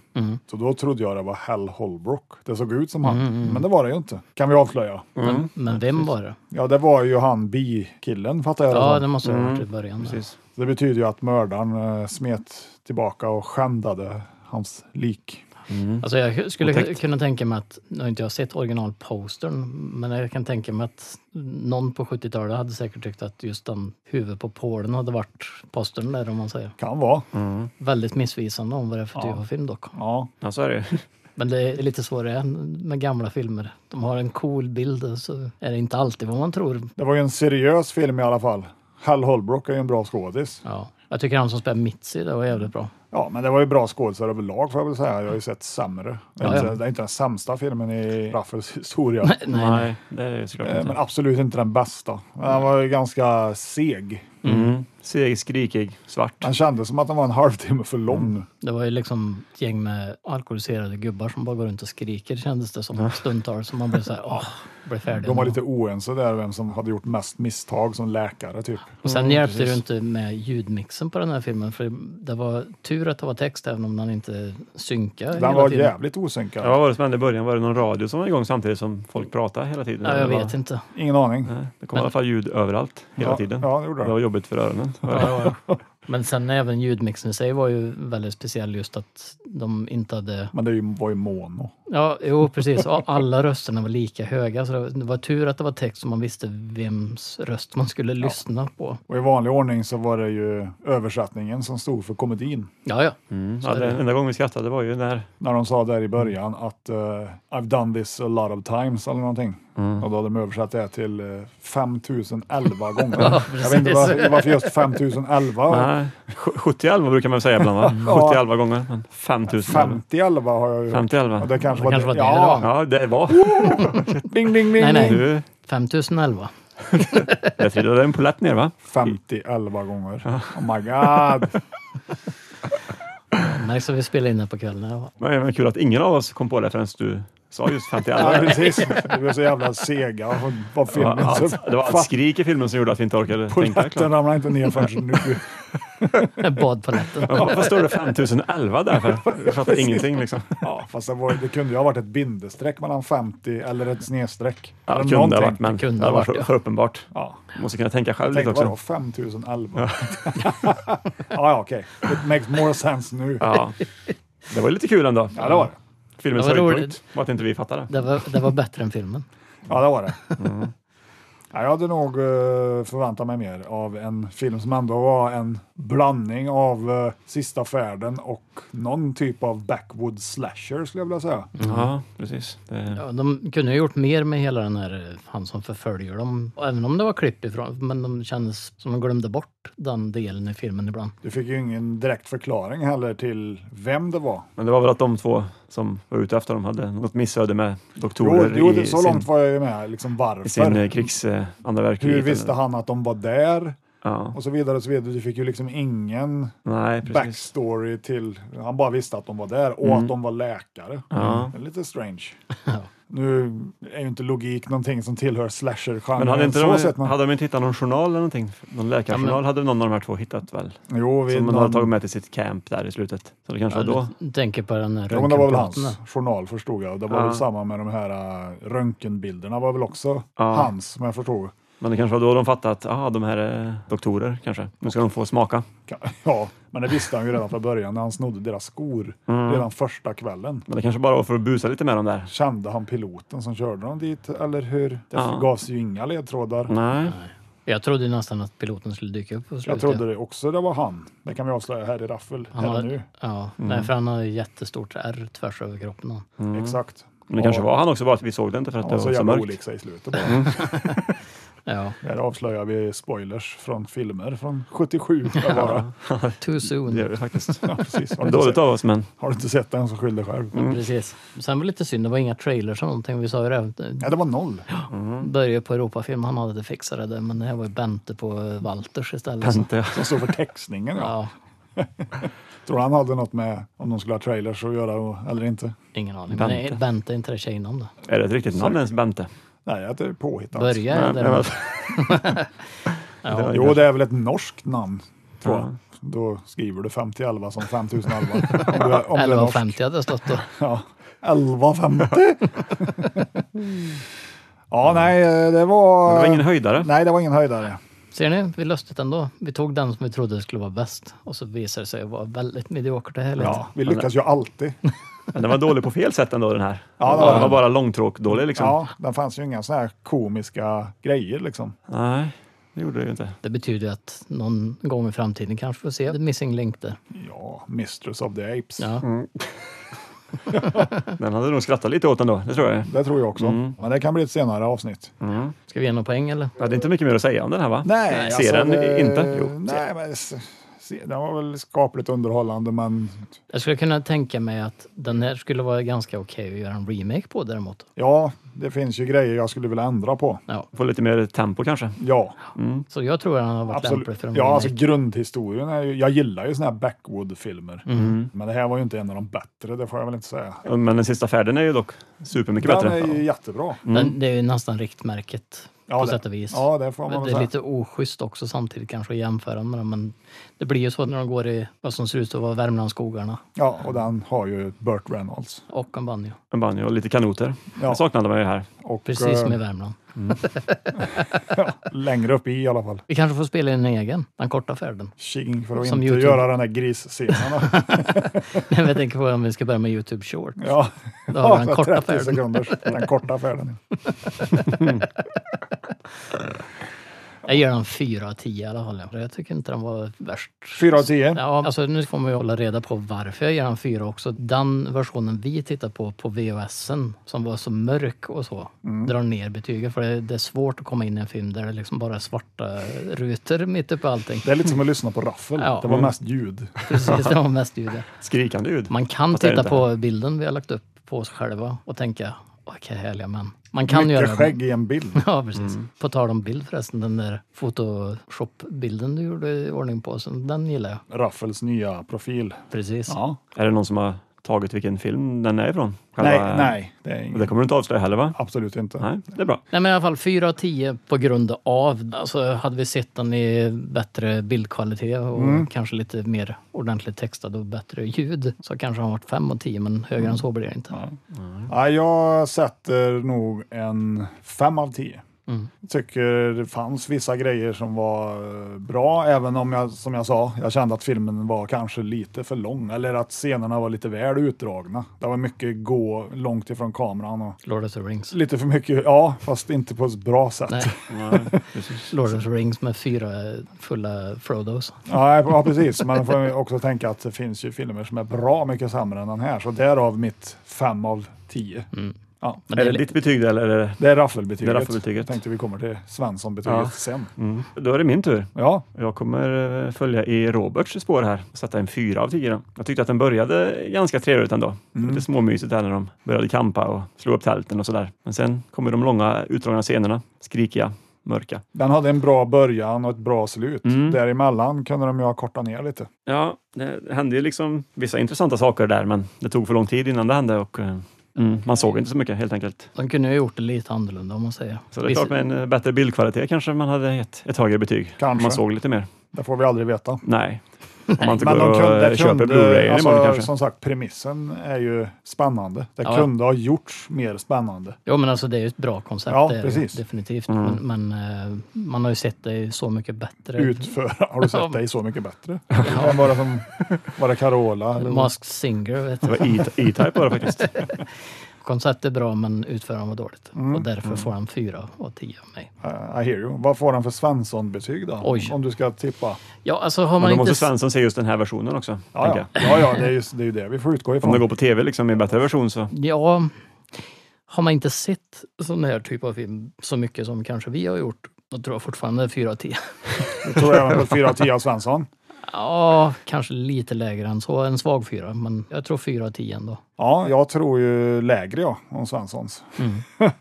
S3: Så då trodde jag det var Hal Holbrook. Det såg ut som han, men det var det ju inte. Kan vi avslöja.
S2: Men vem var det?
S3: Ja, det var ju han bi-killen fattar jag
S2: Ja,
S3: som.
S2: det måste det ha varit i början. där.
S4: Precis.
S3: Det betyder ju att mördaren eh, smet tillbaka och skändade hans lik.
S2: Alltså jag skulle
S4: Otäckt.
S2: kunna tänka mig att, nu har inte jag sett originalpostern, men jag kan tänka mig att någon på 70-talet hade säkert tyckt att just den huvud på Polen hade varit postern där om man säger.
S3: Kan vara.
S2: Mm. Väldigt missvisande om vad det är för typ av film dock.
S3: Ja.
S4: Ja, så är det ju.
S2: Men det är lite svårare än med gamla filmer. De har en cool bild och så är det inte alltid vad man tror.
S3: Det var ju en seriös film i alla fall. Hal Holbrook är ju en bra skådis.
S2: Ja. Jag tycker han som spelar Mitzi, det var jävligt bra.
S3: Ja, men det var ju bra skådisar överlag får jag väl säga. Jag har ju sett sämre. Det är,
S2: Ja,
S3: inte,
S2: ja.
S3: det är inte den sämsta filmen i Raffels historia.
S2: Nej, nej.
S4: det är det såklart
S3: Eh, Men
S4: inte.
S3: absolut inte den bästa. Men Han var ju ganska seg.
S4: Mm. Seg, skrikig, svart.
S3: Han kändes som att han var en halvtimme för lång.
S2: Det var ju liksom ett gäng med alkoholiserade gubbar som bara går runt och skriker kändes det som stundtals. Som man blev så här, åh, blev färdig.
S3: De var
S2: nu."
S3: lite oense där vem som hade gjort mest misstag som läkare typ.
S2: Och sen hjälpte det ju inte med ljudmixen på den här filmen för det var tur att det var text även om den inte synkade
S3: Den
S2: hela
S3: var
S2: tiden.
S3: jävligt osynkad.
S4: Ja, vad var det som hände i början? Var det någon radio som var igång samtidigt som folk pratade hela tiden?
S2: Ja, jag
S4: Eller vad?
S2: vet inte.
S3: Ingen aning.
S4: Nej, det kom i alla fall ljud överallt hela
S3: Ja,
S4: tiden.
S3: ja, det gjorde det.
S4: det var jobbigt för öronen.
S2: Men sen även ljudmixen i sig var ju väldigt speciell just att de inte hade...
S3: Men det är ju- var ju mono.
S2: Ja, jo precis. Och Alla rösterna var lika höga. Så det var- det var tur att det var text så man visste vems röst man skulle lyssna på.
S3: Och i vanlig ordning så var det ju översättningen som stod för komedin.
S2: Ja, ja.
S4: Mm. Ja, den enda gången vi skrattade var ju när
S3: När de sa där i början att eh, I've done this a lot of times eller någonting. Och då hade de översatt det till uh, 5011 gånger. jag vet inte var, varför just 5011.
S4: Nej, sj- 70 elva brukar man säga ibland va?
S3: Mm.
S4: 70 elva gånger, men 5000 elva.
S3: 5011 har jag ju hört.
S4: 50 elva.
S3: Och det kanske
S2: Det
S3: var
S2: kanske var det
S3: ja,
S4: Ja, det var...
S3: ding, ding, ding.
S2: Nej, nej.
S4: Du,
S2: 5011.
S4: där trillade en polett ner va?
S3: 5011 gånger. Oh my god.
S2: Märks att vi spelar in här på kvällen. Ja.
S4: Men men kul att ingen av oss kom på det förrän du sa just 50
S3: Ja,
S4: elva.
S3: precis. Vi var så jävla sega och var
S4: Det var
S3: filmen. så
S4: allt- det var allt skrik i filmen som gjorde att vi inte orkade tänka
S3: Polletten
S4: klart.
S3: ramlade inte ner förrän nu.
S2: Badpaletten.
S4: Ja, Varför står det 5011 där för? Jag fattar ingenting liksom.
S3: Ja, fast det, var, det kunde ju ha varit ett bindestreck mellan 50 eller ett snedstreck.
S4: Ja, det
S3: eller
S4: kunde det ha varit, men
S2: Det kunde
S4: det
S2: ha
S4: var
S2: varit,
S4: för,
S2: ja.
S4: för uppenbart.
S3: Ja.
S4: Måste kunna tänka själv
S3: Tänk
S4: lite
S3: vadå,
S4: också.
S3: 5011? Ja, ja okej. It makes more sense nu. Ja,
S4: Ja. Det var lite kul ändå.
S3: det var det.
S4: Filmens
S2: Det var roligt.
S4: höjdpunkt var att inte vi fattade.
S2: Det var, det var bättre än filmen.
S3: Ja, det, var det.
S4: Mm.
S3: Ja, jag hade nog eh, förväntat mig mer av en film som ändå var en blandning av eh, Sista färden och någon typ av backwood slasher skulle jag vilja säga.
S4: Ja, precis. Det,
S2: Ja, de kunde ha gjort mer med hela den här eh, han som förföljer dem. Även om det var klipp ifrån. Men de kändes som de glömde bort den delen i filmen ibland.
S3: Du fick ju ingen direkt förklaring heller till vem det var.
S4: men det var väl att de två som var ute efter dem hade något missöde med
S3: Jo,
S4: doktorer
S3: jo
S4: i,
S3: det, så
S4: sin,
S3: långt var jag ju med. Liksom varför?
S4: i sin eh, krigs... Eh, andra
S3: Hur
S4: världskriget.
S3: visste
S4: eller-
S3: han att de var där?
S4: Ja,
S3: Och så vidare och så vidare. Du fick ju liksom ingen
S4: nej, precis. Mm.
S3: backstory till... Han bara visste att de var där och att de var läkare.
S4: Ja.
S3: Det är lite strange. Nu är ju inte logik någonting som tillhör slasher-genren.
S4: Men hade, inte
S3: så
S4: de,
S3: sett man...
S4: hade de inte hittat någon journal eller någonting? Någon läkarjournal hade någon av de här två hittat väl?
S3: Jo, vi,
S4: Som man
S3: någon...
S4: hade tagit med till sitt camp där i slutet. Så det kanske var då.
S2: Jag tänker på den här
S3: Jo, men det var väl
S2: röntgenplåten
S3: hans journal förstod jag. Och Det var
S4: Ja.
S3: väl samma med de här äh, röntgenbilderna. var väl också
S4: Ja.
S3: hans, som jag förstod.
S4: Men det kanske var då de fattade att aha, de här är doktorer kanske. Nu ska de få smaka.
S3: Ka- Ja, men det visste han ju redan från början när han snodde deras skor
S4: Mm.
S3: redan första kvällen.
S4: Men det kanske bara var för att busa lite med dem där.
S3: Kände han piloten som körde dem dit, eller hur? Det
S4: Ja.
S3: gavs ju inga ledtrådar.
S4: Nej.
S2: där. Jag trodde ju nästan att piloten skulle dyka upp på slutet.
S3: Jag trodde det också det var han. Det kan vi avslöja här i Raffel,
S2: han
S3: här och
S2: har,
S3: nu.
S2: Ja, nej, för han har ju jättestort ärr tvärs över kroppen. han.
S3: Exakt.
S4: Mm. Men det kanske var han också bara att vi såg det inte för att
S3: Han
S4: det
S3: var så
S4: var så
S3: jävla
S4: mörkt. Mm.
S3: olik sig i slutet bara.
S2: Ja,
S3: Här avslöjar vi spoilers från filmer från 77. där bara.
S2: too
S4: Det gör
S2: soon.
S4: vi faktiskt.
S3: Ja, precis. Har du, inte sett,
S4: Dåligt Mm. av oss men
S3: har du inte sett den så skyll dig själv.
S2: Precis. Sen var det lite synd, det var inga trailers eller någonting. Vi sa ju det.
S3: Ja, det var noll.
S2: Börje på Europafilm, han hade fixat det där, men det här var ju Bente på eh, Walters istället. så-
S4: inte.
S3: Som stod för textningen. Ja.
S2: Ja,
S3: Tror han hade något med om de skulle ha trailers att göra och- eller inte?
S2: ingen aning. Men
S4: Bente.
S2: är Bente är inte det tjejen om det?
S4: Är det ett riktigt namn ens Bente?
S3: Nej, jag är påhittat.
S2: Börje är
S4: Nej, men-
S2: det.
S3: Jo, det är väl ett norskt namn, tror jag. Då skriver du 5011 som 5011. om det- om det är norskt.
S2: 11.50 hade det stått då.
S3: Ja, 11.50. ja, nej, det var...
S4: Det var ingen höjdare.
S3: Nej, det var ingen höjdare.
S2: Ser ni? Vi löste ändå. Vi tog den som vi trodde skulle vara bäst och så visade det sig vara väldigt mediokert det här.
S3: Ja,
S2: Ja.
S3: vi lyckas ju alltid. liksom.
S4: Men Den var dålig på fel sätt ändå den här.
S3: Ja, det
S4: den
S3: var
S4: var,
S3: den.
S4: bara långtråk-dålig liksom.
S3: Ja, det fanns ju inga sådana här komiska grejer liksom.
S4: Nej, det gjorde det ju inte.
S2: Det betyder ju att någon gång i framtiden kanske får se The Missing Link där.
S3: Ja, Mistress of the Apes.
S2: Ja.
S4: Den hade nog skrattat lite åt ändå, det tror jag.
S3: Det tror jag också.
S4: Mm.
S3: Men det kan bli ett senare avsnitt.
S2: Ska vi ge någon poäng eller?
S4: Jag hade inte mycket mer att säga om den här va?
S3: alltså, eh, Nej,
S4: Ser den
S3: det-
S4: inte? Jo.
S3: Nej, men s- se- den var väl skapligt underhållande, men
S2: Jag skulle kunna tänka mig att den här skulle vara ganska okej att göra en remake på däremot.
S3: ja, det finns ju grejer jag skulle vilja ändra på.
S4: Få lite mer tempo kanske.
S3: Ja,
S2: Så jag tror att den har varit lämplig
S3: absolut.
S2: för en
S3: Ja,
S2: remake.
S3: alltså grundhistorien är ju, jag gillar ju såna här backwood-filmer,
S2: Mm.
S3: men det här var ju inte en av de bättre, det får jag väl inte säga.
S4: Men den sista färden är ju dock supermycket
S3: Den
S4: bättre.
S3: är ju jättebra.
S2: den, det är ju nästan riktmärket
S3: mm. Ja,
S2: på
S3: det-
S2: sätt och vis.
S3: Ja, det får man väl
S2: Det är
S3: säga.
S2: lite oschysst också samtidigt kanske att jämföra med den, men det blir ju så när de går i vad som ser ut att vara Värmlandsskogarna
S3: Ja, och den har ju Burt Reynolds.
S2: och en banjo.
S4: En banjo och lite kanoter.
S3: Ja.
S4: Det saknade man ju här.
S3: Och,
S2: Precis
S3: eh,
S2: som i Värmland.
S3: Längre upp i i alla fall.
S2: Vi kanske får spela in en egen, den korta färden.
S3: Tjing för att
S2: Som
S3: inte
S2: YouTube.
S3: göra den där grisscenen. då.
S2: Men jag tänker på om vi ska börja med Youtube Short.
S3: ja,
S2: Då har vi
S3: så
S2: den korta
S3: 30
S2: färden.
S3: sekunders. Den korta färden.
S2: Jag ger den 4 av 10 i alla fall. Jag tycker inte den var värst.
S3: 4 av 10.
S2: Ja, alltså nu får man ju hålla reda på varför jag ger den 4 också. Den versionen vi tittar på, på VHSen, som var så mörk och så,
S3: Mm.
S2: drar ner betyget. För det, det är svårt att komma in i en film där det liksom bara är svarta rutor mitt uppe i allting.
S3: Det är lite som att lyssna på raffel.
S2: Ja.
S3: Det var mest ljud.
S2: Precis, det var mest ljud.
S4: Skrikande ljud.
S2: Man kan
S4: Fast det är det
S2: titta
S4: inte.
S2: på bilden vi har lagt upp på oss själva och tänka, vilka härliga män. Man kan
S3: Mycket
S2: göra det.
S3: skägg Mm. i en bild.
S2: Ja, precis. På tal om bild förresten, den där Photoshop-bilden du gjorde i ordning på, så den gillar jag.
S3: Raffels nya profil.
S2: Precis.
S3: Ja.
S4: Är det någon som har tagit vilken film den är ifrån?
S3: Nej,
S4: Själva-
S3: nej. Det är
S4: Och Det
S3: inget.
S4: kommer du inte avslöja heller va?
S3: Absolut inte.
S4: Nej, det är bra.
S2: Nej, men i alla fall 4 av 10 på grund av. Alltså, hade vi sett den i bättre bildkvalitet och
S4: Mm.
S2: kanske lite mer ordentligt textad och bättre ljud så kanske den varit 5 av 10, men högre än så blir det inte.
S3: Ja, jag sätter nog en 5 av 10. Jag tycker det fanns vissa grejer som var eh, bra, även om jag som jag sa, jag kände att filmen var kanske lite för lång eller att scenerna var lite väl utdragna. Det var mycket gå långt ifrån kameran och
S2: Lord of the Rings.
S3: lite för mycket, ja, fast inte på ett bra sätt.
S2: Nej, Lord of the Rings med fyra fulla Frodos.
S3: Nej, ja, precis. Men man får ju också tänka att det finns ju filmer som är bra mycket sämre än den här, så därav mitt 5 av 10. Ja.
S2: Men
S4: Är
S2: det är
S4: Mm. det
S2: li-
S4: ditt betyg eller är det...
S3: Det är raffelbetyget.
S4: Det är raffelbetyget.
S3: Jag tänkte vi kommer till Svensson-betyget
S4: Ja.
S3: sen.
S4: Mm. Då är det min tur.
S3: Ja,
S4: Jag kommer eh, följa i Roberts spår här och sätta en fyra av tio. då. Jag tyckte att den började ganska trevligt ändå.
S3: Mm.
S4: Lite småmysigt där när de började kampa och slå upp tälten och sådär. Men sen kommer de långa utdragna scenerna. Skrikiga, mörka.
S3: den hade en bra början och ett bra slut.
S4: Mm.
S3: Däremellan kunde de ju ha kortat ner lite.
S4: Ja, det hände ju liksom vissa intressanta saker där men det tog för lång tid innan det hände och eh, mm, man såg inte så mycket helt enkelt.
S2: De kunde ju ha gjort det lite annorlunda om man säger.
S4: Så det är
S2: Visst-
S4: klart med en eh, bättre bildkvalitet kanske man hade gett ett högre betyg.
S3: Kanske.
S4: Man såg lite mer.
S3: Det får vi aldrig veta.
S4: Nej. Om man inte
S3: Men
S4: går
S3: de
S4: och
S3: kunde,
S4: eh, köper Blu-ray
S3: kunde
S4: imorgon
S3: alltså,
S4: kanske.
S3: som sagt, premissen är ju spännande. Det
S2: Ja.
S3: kunde ha gjorts mer spännande.
S2: Jo men alltså det är ju ett bra koncept.
S3: Ja,
S2: det är det
S3: precis.
S2: Definitivt.
S4: Mm.
S2: Men, men eh, man har ju sett det i så mycket bättre.
S3: Utföra, har du
S2: Ja.
S3: sett dig så mycket bättre? Vem var det som, var det Carola? Eller?
S2: Masked Singer vet
S4: Det
S2: du.
S4: var E- E-Type var det faktiskt.
S2: Konceptet är bra men utförandet var dåligt.
S4: Mm.
S2: Och därför får han 4 av 10 av mig.
S3: Eh, I hear you. Vad får han för Svensson-betyg då?
S2: Oj.
S3: Om du ska tippa.
S2: Ja alltså har man
S4: Men då
S2: inte...
S4: måste
S2: s-
S4: Svensson se just den här versionen också.
S3: Ja,
S4: tänker
S3: ja.
S4: jag.
S3: ja, ja det, är ju, det är ju det vi får utgå
S4: Om det
S3: ifrån.
S4: går på tv liksom i bättre version så.
S2: Ja, har man inte sett sån här typ av film så mycket som kanske vi har gjort, då tror jag fortfarande 4 av 10.
S3: Jag tror även på 4 av 10 av Svensson.
S2: Ja, kanske lite lägre än så. En svag 4, men jag tror 4 av 10 ändå.
S3: Ja, jag tror ju lägre jag om Svenssons.
S2: Mm.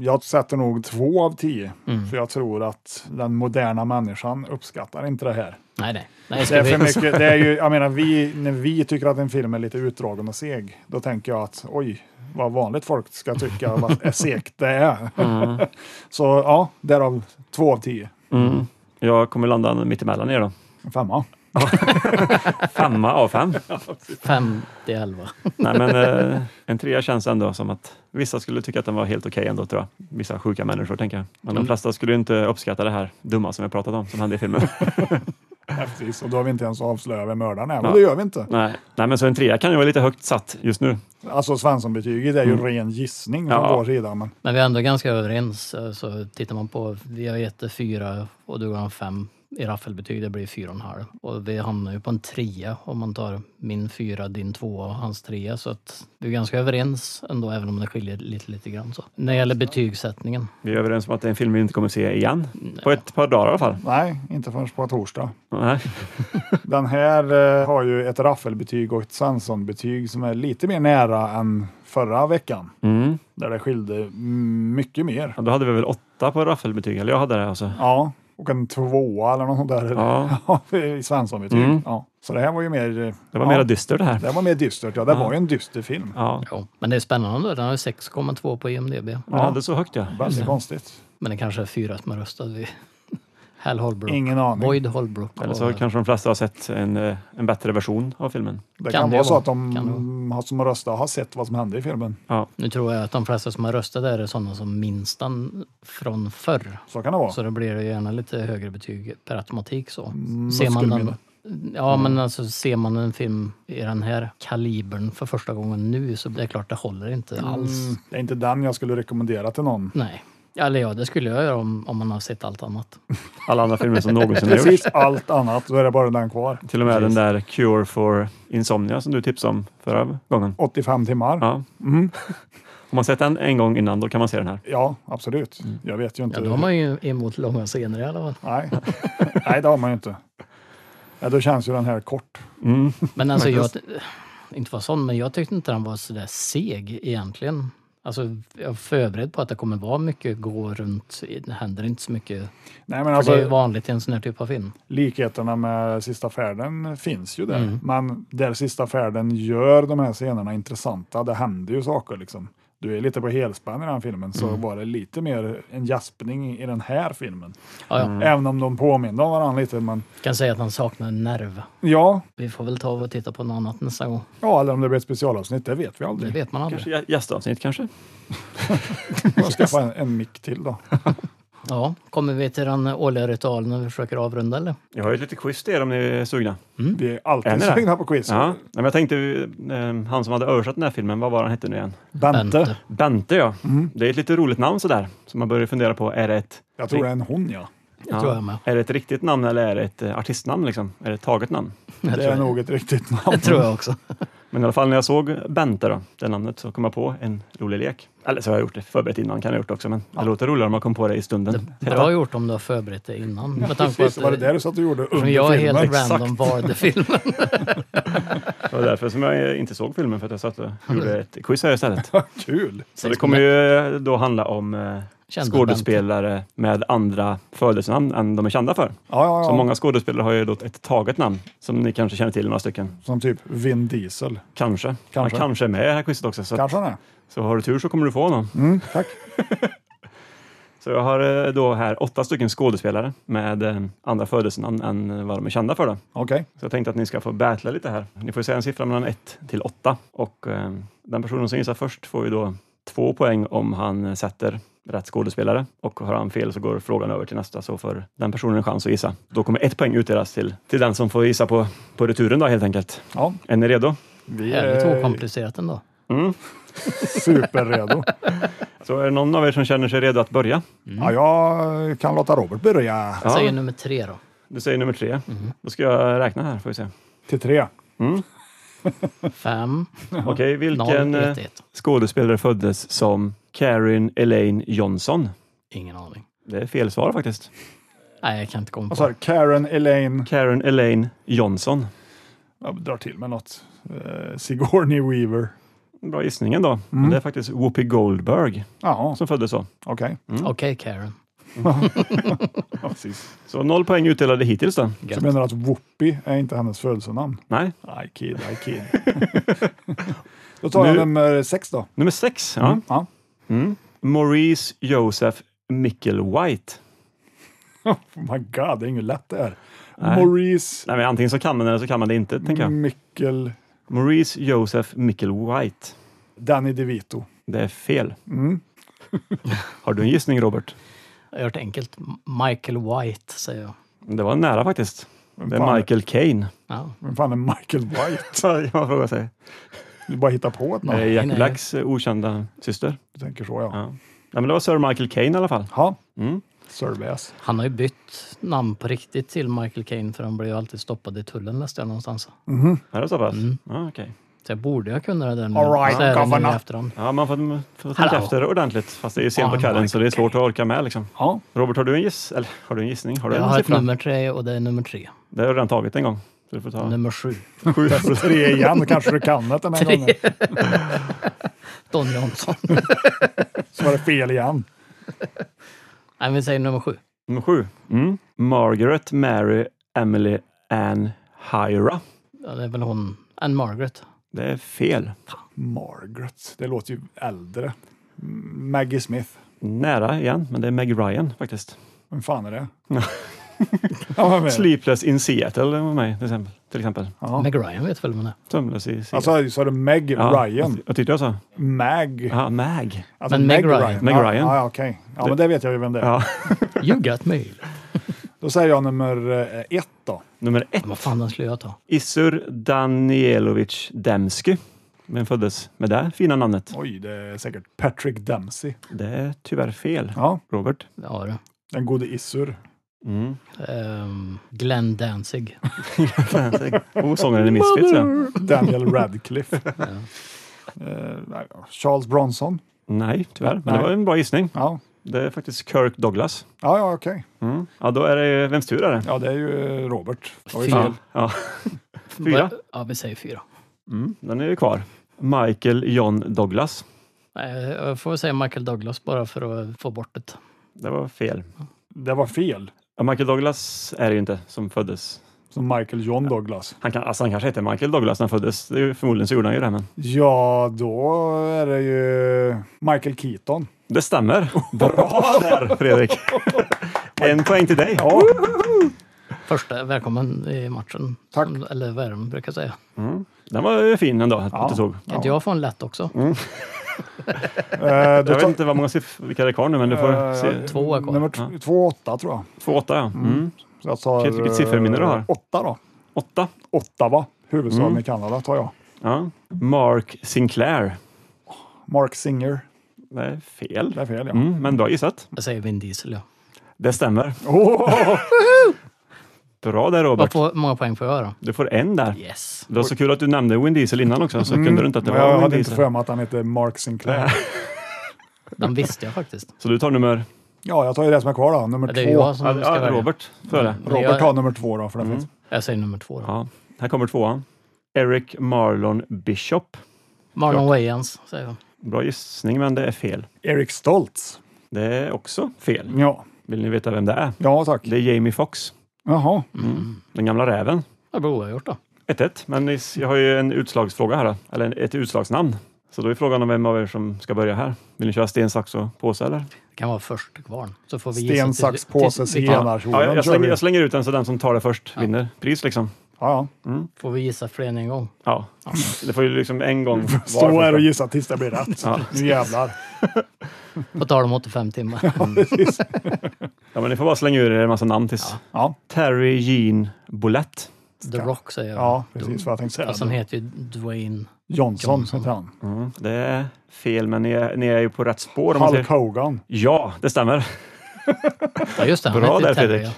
S3: jag sätter nog två av tio, för jag tror att den moderna människan uppskattar inte det här.
S2: Nej, nej. nej
S3: Det
S2: ska
S3: är för
S2: vi...
S3: mycket, det är ju, jag menar, vi, när vi tycker att en film är lite utdragen och seg, då tänker jag att oj, vad vanligt folk ska tycka vad är segt det är. Så ja, därav två av tio.
S4: Mm. Jag kommer landa mittemellan er då.
S3: En Femma.
S4: Femma av fem.
S2: 5 till 11.
S4: Nej, men eh, en trea känns ändå som att vissa skulle tycka att den var helt okej ändå tror jag. Vissa sjuka människor tänker jag. Men de flesta skulle ju inte uppskatta det här dumma som jag pratat om som hände i filmen.
S3: Precis, och då har vi inte ens avslöjat vem mördaren är, men
S4: Ja.
S3: det gör vi inte.
S4: Nej. Nej, men så en trea kan ju vara lite högt satt just nu.
S3: Alltså Svensson-betyget är ju ren gissning från
S4: Mm. Ja.
S3: vår sida, men
S2: alltså, Men vi är ändå ganska överens. eh, Så tittar man på, vi har gett det 4 och du har 5. i raffelbetyg, det blir 4,5. Och vi hamnar ju på en trea om man tar min fyra, din tvåa och hans trea. Så att vi är ganska överens ändå, även om det skiljer lite, lite grann. Så. När det gäller betygssättningen.
S4: Vi är överens om att det är en film vi inte kommer se igen. På ett par dagar i alla fall.
S3: Nej, inte förrän på torsdag.
S4: Nej.
S3: Den här eh, har ju ett raffelbetyg och ett Svensson-betyg som är lite mer nära än förra veckan.
S4: Mm.
S3: Där det skilde mycket mer.
S4: Ja, Då hade vi väl åtta på raffelbetyg, eller jag hade det alltså.
S3: Ja, och en tvåa eller något sånt där
S4: Ja.
S3: i Svensson-betyg.
S4: Mm.
S3: Ja. Så det här var ju mer... eh,
S4: Det
S3: ja,
S4: var mera dystert det här.
S3: Det var mer dystert, ja. Det var ju en dyster film.
S4: Ja.
S2: Ja, men det är spännande. Den har ju 6,2 på IMDB.
S4: Den hade så högt ja.
S3: Väldigt konstigt.
S2: Men den kanske är fyra som är röstad vid Hal Holbrook.
S3: Ingen aning.
S2: Boyd Holbrook.
S4: Eller så
S2: Och-
S4: kanske de flesta har sett en, eh, en bättre version av filmen.
S3: Det kan,
S2: Kan det
S3: vara så
S2: vara.
S3: att de
S2: Kan det
S3: har- som röstat har sett vad som hände i filmen.
S4: Ja.
S2: Nu tror jag att de flesta som har röstat där är sådana som minns den från förr.
S3: Så kan det vara.
S2: Så då blir det gärna lite högre betyg per automatik. Så.
S3: Mm,
S2: ser man den,
S3: muskelminne.
S2: ja, men alltså, ser man en film i den här kalibern för första gången nu så det är klart det håller inte alls.
S3: Mm, det är inte den jag skulle rekommendera till någon.
S2: Nej. Eller ja, det skulle jag göra om, om man har sett allt annat.
S4: Alla andra filmer som någonsin har gjorts.
S3: Precis allt annat, då är det bara den kvar.
S4: Till och med
S2: Precis.
S4: den där Cure for Insomnia som du tipsade om förra gången.
S3: 85 timmar. Ja,
S4: Ja.
S2: Mm.
S4: Om man sett den en gång innan då kan man se den här.
S3: absolut. Jag vet ju inte.
S2: Mm. Ja, då har man ju emot långa scener i alla fall.
S3: Nej. Nej, det har man ju inte. Ja, då känns ju den här kort.
S4: Mm.
S2: Men alltså, jag, inte var sån, men jag tyckte inte den var så där seg egentligen. Alltså, jag är förberedd på att det kommer vara mycket gå runt, det händer inte så mycket.
S3: Nej, men
S2: För det är ju
S3: alltså,
S2: vanligt i en sån här typ av film.
S3: likheterna med Sista färden finns ju där.
S2: Mm.
S3: Men där Sista färden gör de här scenerna intressanta, det händer ju saker liksom. Du är lite på helspänn i den här filmen, så
S2: Mm.
S3: var det lite mer en jaspning i den här filmen.
S2: Ja,
S4: Mm.
S2: ja.
S3: Även om de påminner om varandra lite. Men
S2: Kan säga att han saknar nerv.
S3: ja,
S2: Vi får väl ta och titta på något annat nästa gång.
S3: ja, eller om det blir ett specialavsnitt, det vet vi
S2: Det
S3: aldrig.
S2: vet man aldrig.
S4: Kanske gä- gästavsnitt kanske?
S3: Jag ska skaffa en, en mick till då.
S2: Ja, kommer vi till den årliga ritualen när vi försöker avrunda eller?
S4: Jag har ju ett litet quiz till er om ni är sugna.
S3: Vi är
S4: Är
S3: alltid
S4: ni det?
S3: sugna på quiz.
S4: Ja. Nej, men jag tänkte, eh, han som hade översatt den här filmen, vad var han hette nu igen?
S3: Bente.
S2: Bente.
S4: Bente ja.
S2: Mm.
S4: Det är ett lite roligt namn sådär. Så man börjar fundera på, är det ett,
S3: Jag tror det är en hon, ja.
S4: ja,
S2: tror jag med.
S4: Är det ett riktigt namn eller är det ett eh, artistnamn? Liksom? Är det ett taget namn?
S2: Jag
S3: Det är
S2: tror,
S3: nog ett riktigt namn.
S2: det tror jag också.
S4: Men i alla fall när jag såg Bente, då, det namnet, så kom jag på en rolig lek. Eller så har jag gjort det förberett innan, kan jag ha gjort också, men det låter roligare om man kom på det i stunden.
S2: Bra gjort om du har förberett dig innan. Med tanke på
S3: Precis,
S2: att,
S3: det var det där du satt och gjorde under
S2: eftersom jag är
S3: filmen.
S2: helt
S3: Exakt.
S2: random valde filmen.
S4: Det var därför som jag inte såg filmen, för att jag satt och gjorde ett quiz här istället.
S3: Kul!
S4: Så det kommer ju då handla om eh,
S2: Kända
S4: skådespelare med andra födelsenamn än de är kända för.
S3: Ja, ja, ja.
S4: Så
S3: Som,
S4: många skådespelare har ju då ett taget namn, som ni kanske känner till några stycken.
S3: typ Vin Diesel.
S4: Kanske.
S3: Kanske.
S4: Han kanske är med i det här quizet också. Så,
S3: Kanske han är.
S4: så har du tur så kommer du få honom.
S3: Mm, tack.
S4: Så jag har eh, då här åtta stycken skådespelare med eh, andra födelsenamn än eh, vad de är kända för. Då.
S3: Okej.
S4: Så jag tänkte att ni ska få battla lite här. Ni får säga en siffra mellan 1 till 8 och eh, den personen som gissar först får ju då två poäng om han eh, sätter rätt skådespelare och har han fel så går frågan över till nästa så får den personen en chans att gissa. Då kommer ett poäng utdelas till, till den som får gissa på, på returen då helt enkelt.
S3: Ja,
S4: Är ni redo? Mm.
S3: vi
S4: Eh,
S2: Jävligt
S3: är
S2: okomplicerat ändå.
S3: superredo.
S4: Så är det någon av er som känner sig redo att börja?
S3: Ja, jag kan låta Robert börja
S4: Ja.
S2: Säger nummer tre då.
S4: Du säger nummer tre. Då ska jag räkna här får vi se. Mm.
S3: till tre.
S2: Fem,
S4: Okej, vilken
S2: noll,
S4: eh,
S2: ett, ett.
S4: skådespelare föddes som Karin Elaine Johnson?
S2: Ingen aning.
S4: Det är fel svar faktiskt.
S2: Nej, jag kan inte komma
S3: Och så
S2: på.
S3: här, Karen Elaine,
S4: Karen Elaine Johnson.
S3: jag drar till med något. Eh, Sigourney Weaver.
S4: Bra gissning då. Men det är faktiskt Whoopi Goldberg
S3: Ja,
S4: som föddes så.
S3: okej.
S2: Okej, Karen.
S3: Ja, precis.
S4: Så noll poäng utdelade hittills då.
S3: Så menar du att Whoopi är inte hennes födelsenamn?
S4: Nej,
S3: I kid, I kid. då tar jag
S4: Nu-
S3: nummer sex då. Mm,
S4: nummer sex. Ja.
S3: Ja.
S4: Mm. Maurice Joseph Mickelwhite.
S3: Oh my god, det är inget lätt det här.
S4: Nej.
S3: Maurice
S4: Nej, men antingen så kan man det eller så kan man det inte, tänker jag.
S3: Mikkel
S4: Maurice Joseph Mickelwhite.
S3: Danny DeVito.
S4: Det är fel. Har du en gissning, Robert?
S2: Jag har gjort enkelt. M- Michael White säger jag.
S4: Det var nära faktiskt. Det
S3: fan
S4: är
S3: är-
S4: Michael Caine.
S2: Ja.
S3: Vem fan är Michael White?
S4: Så jag frågar sig.
S3: Du bara hittar på ett
S4: Det är
S3: namn.
S4: Jack
S2: nej.
S4: Blacks eh, okända syster.
S3: Du tänker så ja.
S4: Ja. Nej, men det var Sir Michael Caine i alla fall.
S3: Ja, Surveys.
S2: Han har ju bytt namn på riktigt till Michael Caine för han blev ju alltid stoppad i tullen läste jag någonstans.
S4: Är det så pass?
S2: Mm.
S4: Ja, okej.
S2: Så jag borde jag kunna det där nu.
S3: All right,
S2: så är det nu
S3: governor.
S2: i efterhand.
S4: Ja, man får, får tänka
S2: Hallå. Ah,
S4: efter ordentligt. Fast det är ju sent på
S2: Ja,
S4: kvällen
S2: Michael
S4: så det är svårt att orka med liksom.
S3: Ja.
S4: Robert, har du en giss? Eller har du en gissning? Har du
S2: Jag
S4: en
S2: har ett
S4: siffra?
S2: nummer tre och det är nummer tre.
S4: Det har du redan tagit en gång. Så du får ta
S2: Nummer sju.
S4: sju.
S3: Tre igen, då kanske du kan det den här
S2: Tre.
S3: gången.
S2: Don Johnson.
S3: Så var det fel igen.
S2: Nej, vi säger nummer sju.
S4: Nummer sju. Mm. Margaret, Mary, Emily, Ann, Hyra.
S2: Ja, det är väl hon, Anne Margaret.
S4: Det är fel.
S3: Margaret, det låter ju äldre. Mm, Maggie Smith,
S4: Nära igen, men det är Meg Ryan faktiskt.
S3: vem fan är det? ja, vem är det?
S4: Sleepless in Seattle med mig till exempel. Till exempel.
S3: Ja.
S2: Meg Ryan vet väl vem hon är.
S4: Sömnlös i Seattle.
S3: Alltså, så är det Meg
S4: Ja,
S3: Ryan.
S4: Jag tyckte jag sa.
S3: Mag.
S4: Ja, Mag.
S3: Alltså
S2: Men Meg Ryan.
S4: Meg
S3: ja,
S4: Ryan.
S3: Ja, okej. Ja, men det vet jag ju vem det är.
S4: Ja.
S2: You got mail.
S3: Då säger jag nummer eh, ett då.
S4: Nummer ett.
S2: Vad fan den skulle jag ta?
S4: Isur Danielovic Demsky. Vem föddes med det fina namnet?
S3: Oj, det är säkert Patrick Dempsey.
S4: Det är tyvärr fel.
S3: Ja,
S4: Robert.
S2: Ja, du.
S3: den gode Isur.
S4: Mm.
S2: Ehm, Glenn Danzig.
S4: Oh, sångaren i Misfits. Ja.
S3: Daniel Radcliffe. Eh, nej, Charles Bronson.
S4: Nej, tyvärr. Men det
S3: Nej.
S4: var en bra gissning.
S3: Ja,
S4: Det är faktiskt Kirk Douglas.
S3: ja, ja okej.
S4: Mm. Ja, då är det vems tur är det?
S3: Ja, det är ju eh, Robert. Det var ju
S2: Fyra.
S3: fel.
S4: Ja. Fyra.
S2: Ja, vi säger fyra.
S4: Mm. Den är ju kvar. Michael John Douglas.
S2: Nej, Jag får väl säga Michael Douglas bara för att få bort det.
S4: Det var fel.
S3: Det var fel.
S4: Ja, Michael Douglas är det ju inte som föddes.
S3: Som Michael John Douglas.
S4: Han, kan, alltså han kanske hette Michael Douglas när han föddes. Det är ju, förmodligen så gjorde han ju det. Men
S3: Ja, då är det ju Michael Keaton.
S4: det stämmer. Bra där Fredrik! en poäng till dig.
S3: Ja,
S2: Första välkommen i matchen.
S3: Tack.
S2: Som, eller vad är det man brukar säga.
S4: Den var ju fin ändå att du inte tog.
S2: Kan inte jag få en lätt också?
S4: Mm.
S3: eh, då
S4: Jag vet
S3: tar,
S4: inte vad många siffror, vilka det är kvar nu, men du får
S3: Eh,
S4: se.
S2: Två är kvar.
S3: nummer t- två åtta tror jag.
S4: Två åtta, ja. Mm.
S3: Så jag tar,
S4: Shit, vilket sifferminne du har. Mm.
S3: eh, Åtta då.
S4: Åtta.
S3: Ottawa, huvudstaden i Kanada, tar jag.
S4: Ja. Mark Sinclair.
S3: Mark Singer.
S4: Det är fel.
S3: Det är fel, ja.
S4: Mm, men bra gissat.
S2: Jag säger Vin Diesel, ja.
S4: Det stämmer.
S3: Åh!
S4: Bra där
S2: Vad
S4: Robert.
S2: får, många poäng får jag då?
S4: Du får en där.
S2: Yes.
S4: Det var så kul att du nämnde Win Diesel innan också, så kunde du inte att det
S3: Men jag
S4: var Win
S3: hade inte
S4: Diesel.
S3: för mig att han heter Mark Sinclair.
S2: Den visste jag faktiskt.
S4: Så du tar nummer...
S3: Ja, jag tar ju det som är kvar då. Nummer
S2: Ja, det är
S3: två.
S2: jag som ska
S4: Ja,
S2: välja. Mm.
S4: Robert före.
S2: Men
S3: Robert
S2: jag-
S3: tar nummer två då, för den finns.
S2: Jag säger nummer två. Då.
S4: Ja, här kommer tvåan. Eric Marlon Bishop.
S2: Marlon Wayans säger jag.
S4: Bra gissning, men det är fel.
S3: Eric Stoltz.
S4: Det är också fel.
S3: Ja,
S4: Vill ni veta vem det är?
S3: ja tack.
S4: Det är Jamie Foxx,
S3: Jaha.
S4: den gamla räven.
S2: Det blir oavgjort då.
S4: 1-1, men ni- jag har ju en utslagsfråga här, då. eller en- ett utslagsnamn. Så då är frågan om vem av er som ska börja här. Vill ni köra sten, sax och påse eller?
S2: Det kan vara först till kvarn. Så får vi gissa
S3: Sten,
S2: till-
S3: sax,
S2: till-
S3: påse,
S2: vi-
S3: zigenare.
S4: Ja, jag,
S3: kör
S4: jag, slänger,
S3: vi.
S4: jag slänger ut den så den som tar det först vinner pris liksom.
S3: Ja, ja.
S2: Får vi gissa fler än en gång?
S4: Ja, det får ju liksom en gång var.
S3: Stå här och
S4: förstås.
S3: gissa tills det blir rätt. Nu jävlar.
S2: På tal om 85 timmar.
S4: Ja, men ni får bara slänga ur er en massa namn tills.
S3: Ja,
S4: Terry Jean Boulett.
S2: The Rock säger jag.
S3: ja precis vad jag tänkte säga.
S2: Fast han heter ju Dwayne.
S3: Johnson heter han.
S4: Mm, det är fel, men ni är, ni är ju på rätt spår. Om man
S3: Hulk
S4: säger.
S3: Hogan.
S4: Ja, det stämmer.
S2: Ja, just det. Han
S4: Bra
S2: heter
S4: där
S2: Terry,
S4: Fredrik.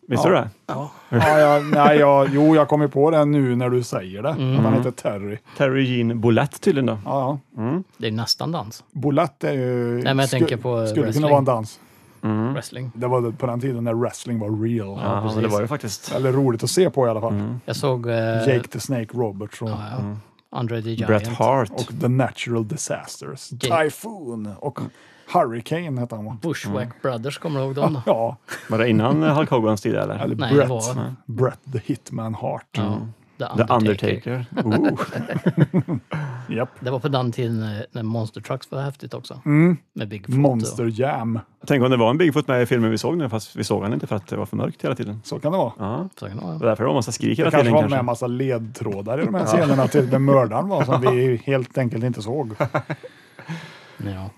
S2: ja.
S4: Visste du det?
S3: Ja, jag, nej, jag, jo, jag kommer på det nu när du säger det. Att han heter Terry.
S4: Terry Jean Boulett tydligen då.
S3: Ja, ja.
S2: Det är nästan dans.
S3: Bullet är ju... Nej,
S2: men jag tänker på
S3: Skulle
S2: wrestling.
S3: kunna vara en dans.
S4: Mm.
S2: Wrestling.
S3: Det var på den tiden när wrestling var real.
S4: Ja, det var det faktiskt.
S3: Eller roligt att se på i alla fall.
S2: Jag såg eh,
S3: Jake the Snake Roberts och,
S2: ja, Andre the Giant.
S4: Mm. Bret Hart.
S3: och The Natural Disasters.
S2: Jake.
S3: Typhoon och Hurricane hette han va?
S2: Bushwack
S4: Mm.
S2: Brothers, kommer du ihåg dem? då?
S3: Ja,
S4: Var det innan Hulk Hogans tid eller?
S3: eller
S2: Nej,
S3: Brett.
S2: det var-
S3: Brett the Hitman Hart.
S2: Ja. The
S4: The
S2: Undertaker.
S4: Undertaker. Ooh.
S3: Japp.
S2: Det var på den tiden eh, när- när Monster Trucks var häftigt också. Med Bigfoot. och-
S3: Monster Jam.
S4: Tänk om det var en Bigfoot med i filmen vi såg nu, fast vi såg han inte för att det var för mörkt hela tiden.
S3: Så kan det vara.
S4: Ja,
S2: Så kan det vara.
S4: det var därför det var massa skrik
S3: Det
S4: hela
S3: kanske
S4: tiden.
S3: var
S4: kanske.
S3: med en massa ledtrådar i de här scenerna till vem mördaren var som vi helt enkelt inte såg.
S2: Ja.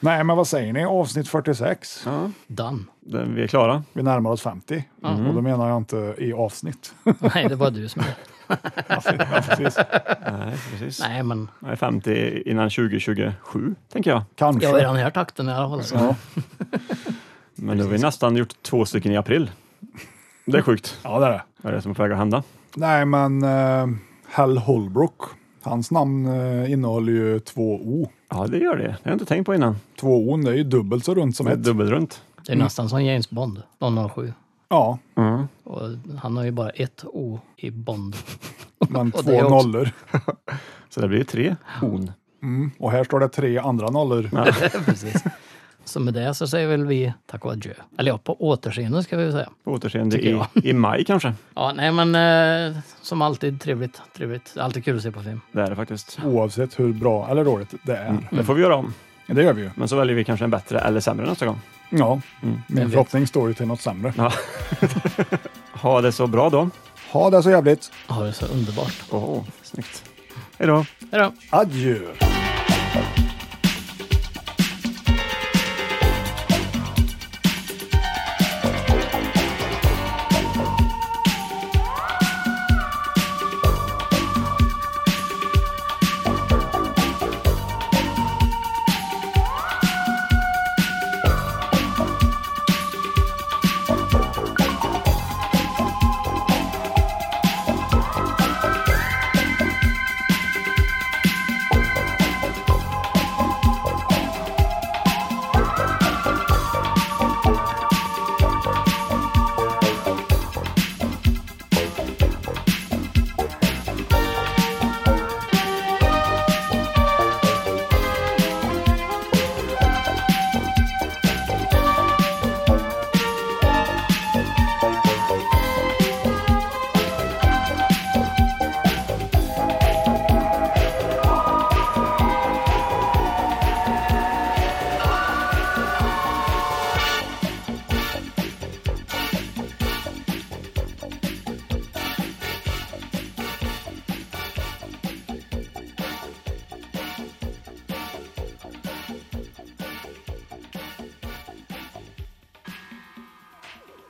S3: Nej, men vad säger ni? Avsnitt 46.
S2: Dan.
S4: Det- Vi är klara.
S3: Vi närmar oss 50 och då menar jag inte i avsnitt.
S2: Nej, det var du som...
S3: ja, precis.
S4: Nej, precis.
S2: Nej, men
S4: Nej, 50 innan 2027, tänker jag.
S3: Kanske.
S2: jag är i den här takten i alla fall. Så.
S3: Ja.
S4: Men nu har vi nästan gjort två stycken i april. Det är sjukt.
S3: Ja, det är det.
S4: Vad är det som är på väg att hända?
S3: Nej, men eh, Hal Holbrook, hans namn eh, innehåller ju två O.
S4: Ja, det gör det. Det har jag inte tänkt på innan.
S3: Två O, det är ju dubbelt så runt som ett.
S4: Dubbelrunt.
S2: Det är nästan som James Bond, 007.
S3: Ja,
S4: Mm.
S2: Och han har ju bara ett O i Bond.
S3: men
S2: Och
S3: två
S2: det är också-
S3: nollor.
S4: Så det blir ju tre horn.
S3: Mm. Och här står det tre andra nollor.
S2: Precis. Så med det så säger väl vi tack och adjö. Eller ja, på återseende ska vi väl säga.
S4: På återseende
S2: Tycker
S4: i, i maj kanske.
S2: Ja, nej men eh, som alltid trevligt, trevligt. Alltid kul att se på film.
S4: Det är det faktiskt.
S3: Oavsett hur bra eller dåligt det är.
S2: Mm.
S4: Det får vi göra om.
S3: Det gör vi ju.
S4: Men så väljer vi kanske en bättre eller sämre nästa gång.
S3: Ja,
S2: Mm. Jag
S3: min
S2: vet.
S3: förhoppning står ju till något sämre.
S4: Ja. ha det så bra då.
S3: Ha det så jävligt.
S2: Ha det så underbart.
S4: Åh, snyggt. Hej då.
S2: Hej då!
S3: Adjö.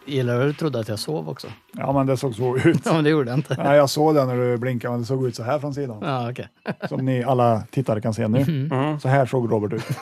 S2: Gillar du att du trodde att jag sov också?
S3: Ja, men det såg så ut.
S2: Ja, men det gjorde jag inte.
S3: Nej, jag såg det när du blinkade, men det såg ut så här från sidan.
S2: Ja, okej. Mm.
S3: Som ni alla tittare kan se nu. Så här såg Robert ut.